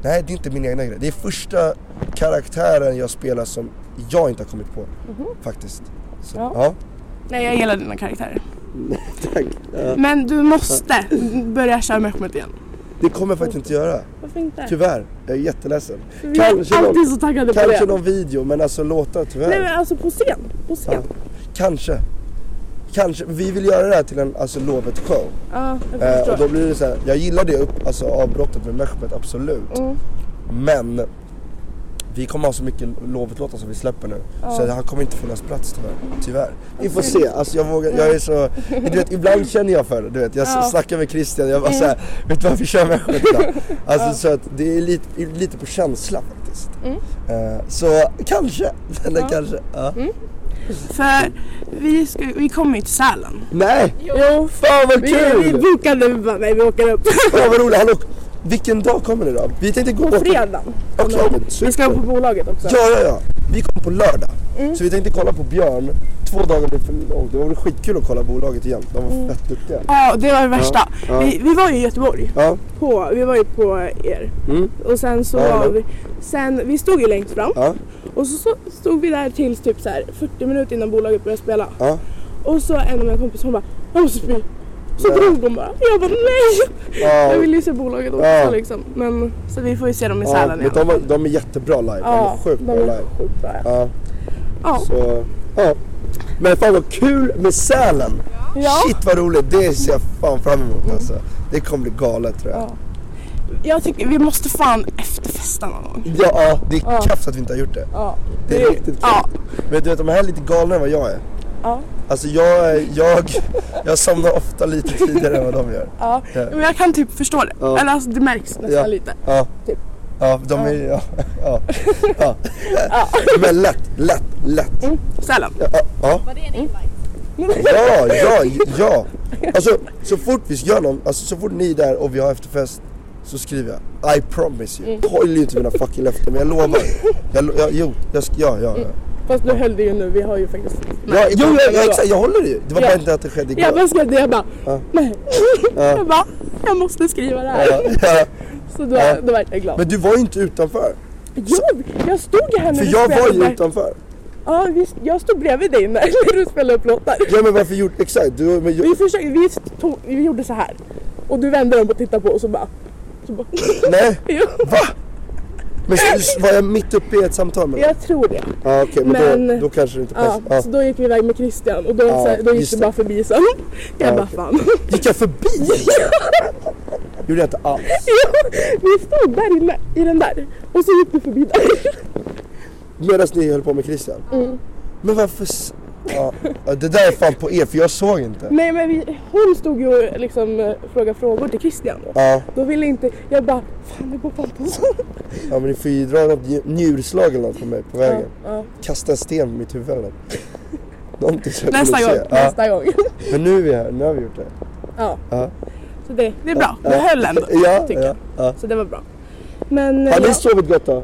Speaker 6: Nej, det är inte min egna grej. Det är första karaktären jag spelar som jag inte har kommit på. Faktiskt. Så,
Speaker 2: Mhm. Ja.
Speaker 6: ja.
Speaker 2: Nej, jag gillar dina karaktärer.
Speaker 6: Tack. Ja.
Speaker 2: Men du måste börja köra med Mehmet igen.
Speaker 6: Det kommer jag faktiskt inte göra.
Speaker 2: Varför inte?
Speaker 6: Tyvärr. Jag är jätteledsen.
Speaker 2: Vi är
Speaker 6: Kanske någon-
Speaker 2: alltid så taggade på
Speaker 6: Kanske
Speaker 2: det.
Speaker 6: någon video men alltså låtar tyvärr.
Speaker 2: Nej men alltså på scen. På scen.
Speaker 6: Kanske. Kanske. Vi vill göra det här till en alltså, lovet show.
Speaker 2: Ja, jag
Speaker 6: Eh, och
Speaker 2: förstår.
Speaker 6: då blir det så här, jag gillar det upp, alltså, avbrottet med Mehmet absolut.
Speaker 2: Mm.
Speaker 6: Men vi kommer ha så mycket lovet-låtar som vi släpper nu. Så han kommer inte finnas plats tyvärr. tyvärr. Vi får se, alltså jag vågar, jag är så, du vet ibland känner jag för det. Du vet. Jag
Speaker 2: Ja. Mm.
Speaker 6: ja. snackar med Christian, jag bara såhär, vet du varför kör Mehmet idag? Alltså så att det är lite, lite på känsla faktiskt.
Speaker 2: Mm.
Speaker 6: Eh, så kanske, eller kanske. Ja.
Speaker 2: Mm. För vi, ska, vi kommer ju till Sälen.
Speaker 6: Nej!
Speaker 2: Jo.
Speaker 6: Fan vad
Speaker 2: Vi, vi
Speaker 6: kul!
Speaker 2: bokade, vi bara nej vi åker upp.
Speaker 6: Fan vad roligt, hallå! Vilken dag kommer det då? Vi tänkte gå
Speaker 2: På fredag.
Speaker 6: Okej, men
Speaker 2: Vi ska
Speaker 6: super.
Speaker 2: på bolaget också.
Speaker 6: Ja, ja, ja. Vi kom på lördag.
Speaker 2: Mm.
Speaker 6: Så vi tänkte kolla på Björn. Två dagar blev för långt. Det var skitkul att kolla bolaget igen. De var
Speaker 2: Mm.
Speaker 6: fett duktiga.
Speaker 2: Ja, det var det värsta.
Speaker 6: ja.
Speaker 2: Vi, vi var ju i Göteborg.
Speaker 6: Ja,
Speaker 2: På, vi var ju på er.
Speaker 6: Mm.
Speaker 2: Och sen så
Speaker 6: Ja,
Speaker 2: var
Speaker 6: ja.
Speaker 2: vi... Sen, vi stod ju längst fram.
Speaker 6: ja,
Speaker 2: Och så, så stod vi där tills typ så här 40 minuter innan bolaget började spela.
Speaker 6: ja.
Speaker 2: Och så en av mina kompisar hon bara jag måste spy. Så
Speaker 6: Nej.
Speaker 2: drog hon bara. Jag bara nej. Jag
Speaker 6: ja.
Speaker 2: vill ju se bolaget också
Speaker 6: Ja.
Speaker 2: liksom. Men, så vi får ju se dem i
Speaker 6: ja
Speaker 2: Sälen
Speaker 6: men
Speaker 2: igen.
Speaker 6: de, var, de är jättebra live. de är sjukt
Speaker 2: de
Speaker 6: bra
Speaker 2: är
Speaker 6: live.
Speaker 2: sjukt bra.
Speaker 6: Ja.
Speaker 2: Ja.
Speaker 6: Så, ja. Men fan vad kul med Sälen!
Speaker 2: Ja. Mm.
Speaker 6: Shit vad roligt, det ser jag fan fram emot alltså. Det kommer bli galet tror jag.
Speaker 2: Ja. Jag tycker vi måste fan efterfesta någon gång.
Speaker 6: Ja, det är kass att vi inte har gjort det.
Speaker 2: Ja.
Speaker 6: Det är riktigt kul.
Speaker 2: Ja.
Speaker 6: Men du vet, de här är lite galna än vad jag är.
Speaker 2: Ja.
Speaker 6: Alltså jag, är- jag, jag somnar ofta lite tidigare än vad de gör.
Speaker 2: Ja.
Speaker 6: Ja.
Speaker 2: Men jag kan typ förstå det.
Speaker 6: Ja.
Speaker 2: Eller alltså det märks nästan
Speaker 6: Ja.
Speaker 2: lite.
Speaker 6: Ja.
Speaker 2: Typ.
Speaker 6: Ja, de är, ja, ja, ja. Men lätt, lätt, lätt.
Speaker 2: Mm. Sälen.
Speaker 6: Ja, ja, ja,
Speaker 7: Var det en invite?
Speaker 6: ja, ja, ja. Alltså så fort vi gör någon, alltså så fort ni är där och vi har efterfest så skriver jag I promise you. Jag håller ju inte mina fucking löften men jag lovar. Jag, lo- jag, jo, jag, sk- ja, ja, ja.
Speaker 2: Fast du höll det ju nu. Vi har ju faktiskt...
Speaker 6: Ja, Mm. jo, ja, ja, exakt, jag håller det ju. Det var bara inte att det skedde igår.
Speaker 2: Jag bara skrev det. Jag bara
Speaker 6: Ja.
Speaker 2: nej. Jag bara jag måste skriva det här.
Speaker 6: Ja, ja.
Speaker 2: Så då,
Speaker 6: Ja.
Speaker 2: då vart jag glad.
Speaker 6: Men du var ju inte utanför.
Speaker 2: Jo, jag stod ju här när
Speaker 6: För
Speaker 2: du
Speaker 6: jag var
Speaker 2: spelade.
Speaker 6: ju utanför.
Speaker 2: Ja, visst, jag stod bredvid dig när när du spelade upp låtar.
Speaker 6: Ja men varför gjorde, exakt. Du, men, jag,
Speaker 2: Vi, försökte, vi, tog, vi gjorde så här. Och du vände dem och tittade på och så bara... Så bara
Speaker 6: nej,
Speaker 2: jo,
Speaker 6: men så, var jag mitt uppe i ett samtal med dig?
Speaker 2: jag tror det.
Speaker 6: Ja Ah, okej, men,
Speaker 2: Men-
Speaker 6: då, då kanske det inte Ah.
Speaker 2: Ja,
Speaker 6: passade.
Speaker 2: Så då gick vi iväg med Christian och då,
Speaker 6: Ja,
Speaker 2: så här, då gick
Speaker 6: just
Speaker 2: det
Speaker 6: det.
Speaker 2: bara förbi sen. Jag
Speaker 6: Ja,
Speaker 2: bara
Speaker 6: okej.
Speaker 2: fan.
Speaker 6: Ja. Gick jag förbi? Gjorde jag inte alls.
Speaker 2: Vi stod där inne i den där och så gick du förbi där.
Speaker 6: Medan ni höll på med Christian?
Speaker 2: Mm.
Speaker 6: Men varför? s- Ja, ja, det där är fan på er för jag såg inte.
Speaker 2: Nej men vi, hon stod ju och liksom eh, frågade frågor till Christian då.
Speaker 6: Ja,
Speaker 2: Då ville inte, jag bara fan det går Pontus.
Speaker 6: ja men ni får ju dra något nj- njurslag eller något på mig på
Speaker 2: Ja,
Speaker 6: vägen.
Speaker 2: ja.
Speaker 6: Kasta en sten på mitt huvud eller något. Någonting så jag
Speaker 2: Nästa
Speaker 6: kommer se.
Speaker 2: gång,
Speaker 6: Ja,
Speaker 2: nästa gång.
Speaker 6: men nu är vi här, nu har vi gjort det.
Speaker 2: Ja.
Speaker 6: Ja.
Speaker 2: Så det, det är bra, det
Speaker 6: Ja.
Speaker 2: höll ändå
Speaker 6: Ja,
Speaker 2: tycker
Speaker 6: ja,
Speaker 2: jag.
Speaker 6: ja.
Speaker 2: Så det var bra. Men eh,
Speaker 6: Har ni
Speaker 2: jag,
Speaker 6: sovit gott då?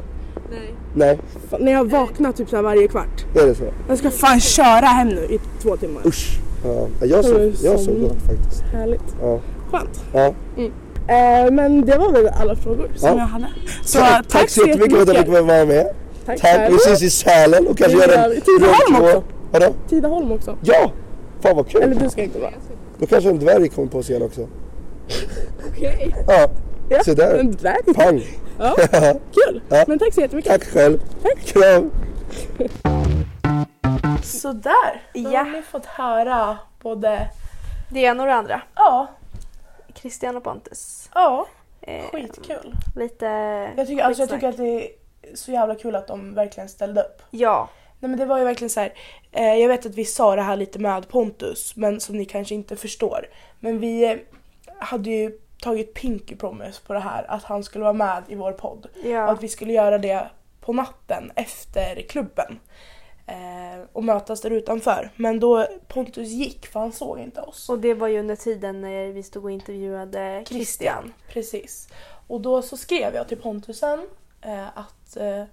Speaker 7: Nej.
Speaker 6: Nej,
Speaker 2: fan, när jag vaknar typ så här varje kvart.
Speaker 6: är det så?
Speaker 2: Jag ska fan köra hem nu i två timmar.
Speaker 6: Usch. Ja, jag sov, jag sov gott faktiskt.
Speaker 2: Härligt.
Speaker 6: Ja.
Speaker 2: Skönt.
Speaker 6: Ja.
Speaker 2: Eh, men det var väl alla frågor som
Speaker 6: Ja.
Speaker 2: jag hade. Så tack, så jättemycket.
Speaker 6: för att ni ville vara med.
Speaker 2: Tack.
Speaker 6: Tack, vi ses i Sälen och kanske
Speaker 2: Det
Speaker 6: gör
Speaker 2: gör
Speaker 6: en...
Speaker 2: vi. Tidaholm
Speaker 6: del två.
Speaker 2: också.
Speaker 6: Vadå?
Speaker 2: Tidaholm också.
Speaker 6: Ja! Fan vad
Speaker 2: Eller
Speaker 6: kul!
Speaker 2: du ska inte vara.
Speaker 6: Då kanske en dvärg kommer på scen också.
Speaker 7: Okej.
Speaker 6: Ja,
Speaker 2: Ja,
Speaker 6: Så där.
Speaker 2: men Där.
Speaker 6: pang!
Speaker 2: Ja, kul.
Speaker 6: Ja.
Speaker 2: Men tack så jättemycket.
Speaker 6: Tack själv! Kram!
Speaker 5: Sådär, då
Speaker 1: Ja.
Speaker 5: har ni fått höra både...
Speaker 1: Det ena och det andra.
Speaker 5: Ja,
Speaker 1: Christian och Pontus.
Speaker 5: ja,
Speaker 1: Eh,
Speaker 5: skitkul.
Speaker 1: Lite...
Speaker 5: Jag tycker, alltså, jag
Speaker 1: skitsnack.
Speaker 5: tycker att det är så jävla kul att de verkligen ställde upp.
Speaker 1: Ja.
Speaker 5: Nej men det var ju verkligen så här. Eh, jag vet att vi sa det här lite med Pontus, men som ni kanske inte förstår. Men vi eh, hade ju tagit Pinky Promise på det här, att han skulle vara med i vår podd. Och
Speaker 1: Ja.
Speaker 5: att vi skulle göra det på natten efter klubben. Eh, och mötas där utanför. Men då Pontus gick för han såg inte oss.
Speaker 1: Och det var ju under tiden när vi stod och intervjuade Christian.
Speaker 5: Precis. Och då så skrev jag till Pontusen eh, att, eh,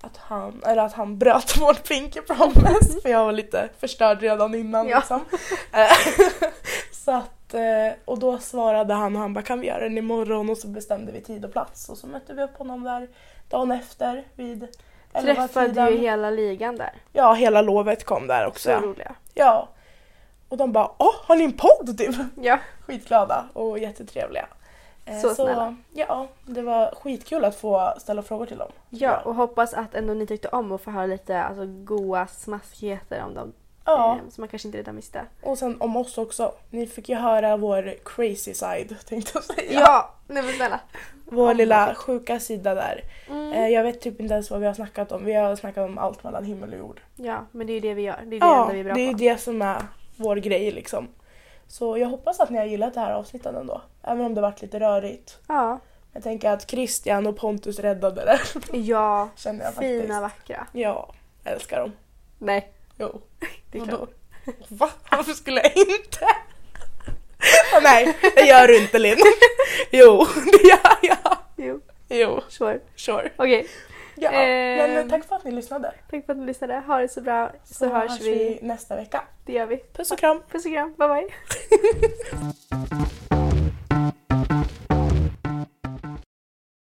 Speaker 5: att, han, eller att han bröt vår pinky promise för jag var lite förstörd redan innan.
Speaker 1: Ja.
Speaker 5: Liksom. Eh, så att, eh, och då svarade han och han bara kan vi göra den imorgon och så bestämde vi tid och plats och så mötte vi upp honom där dagen efter vid
Speaker 2: Eller vad
Speaker 1: Träffade ju
Speaker 2: tiden-
Speaker 1: hela ligan där.
Speaker 2: Ja, hela lovet kom där
Speaker 1: Så
Speaker 2: också.
Speaker 1: roliga.
Speaker 2: Ja. Och de bara åh, har ni en podd typ?
Speaker 1: Ja.
Speaker 2: Skitglada och jättetrevliga. Eh,
Speaker 1: Så snälla.
Speaker 2: Ja, det var skitkul att få ställa frågor till dem.
Speaker 1: Ja, och hoppas att ändå ni tyckte om att få höra lite alltså, goa smaskigheter om dem.
Speaker 2: Ja,
Speaker 1: Eh, som man kanske inte redan visste.
Speaker 2: och sen om oss också. Ni fick ju höra vår crazy side tänkte jag säga.
Speaker 1: Ja, nej men snälla.
Speaker 2: Vår lilla sjuka sida där. Eh, Jag vet typ inte ens vad vi har snackat om. Vi har snackat om allt mellan himmel och jord.
Speaker 1: Ja, men det är ju det vi gör. Det är det
Speaker 2: Ja,
Speaker 1: enda vi är bra
Speaker 2: det är ju
Speaker 1: på.
Speaker 2: det som är vår grej liksom. Så jag hoppas att ni har gillat det här avsnittet ändå. Även om det varit lite rörigt.
Speaker 1: Ja,
Speaker 2: Jag tänker att Christian och Pontus räddade det
Speaker 1: ja
Speaker 2: känner jag faktiskt.
Speaker 1: fina vackra.
Speaker 2: Ja, jag älskar dem.
Speaker 1: Nej,
Speaker 2: Jo.
Speaker 1: det är klart.
Speaker 2: Vadå? Va? Varför skulle jag inte? Åh nej, det gör du inte Linn. Jo, det gör jag.
Speaker 1: Jo,
Speaker 2: Jo,
Speaker 1: sure.
Speaker 2: sure.
Speaker 1: Okej,
Speaker 2: Ja.
Speaker 1: Eh.
Speaker 2: Men tack för att ni lyssnade.
Speaker 1: tack för att ni lyssnade. Ha det så bra så, hörs vi.
Speaker 2: nästa vecka.
Speaker 1: Det gör vi.
Speaker 2: Puss och kram.
Speaker 1: Puss och kram, bye bye.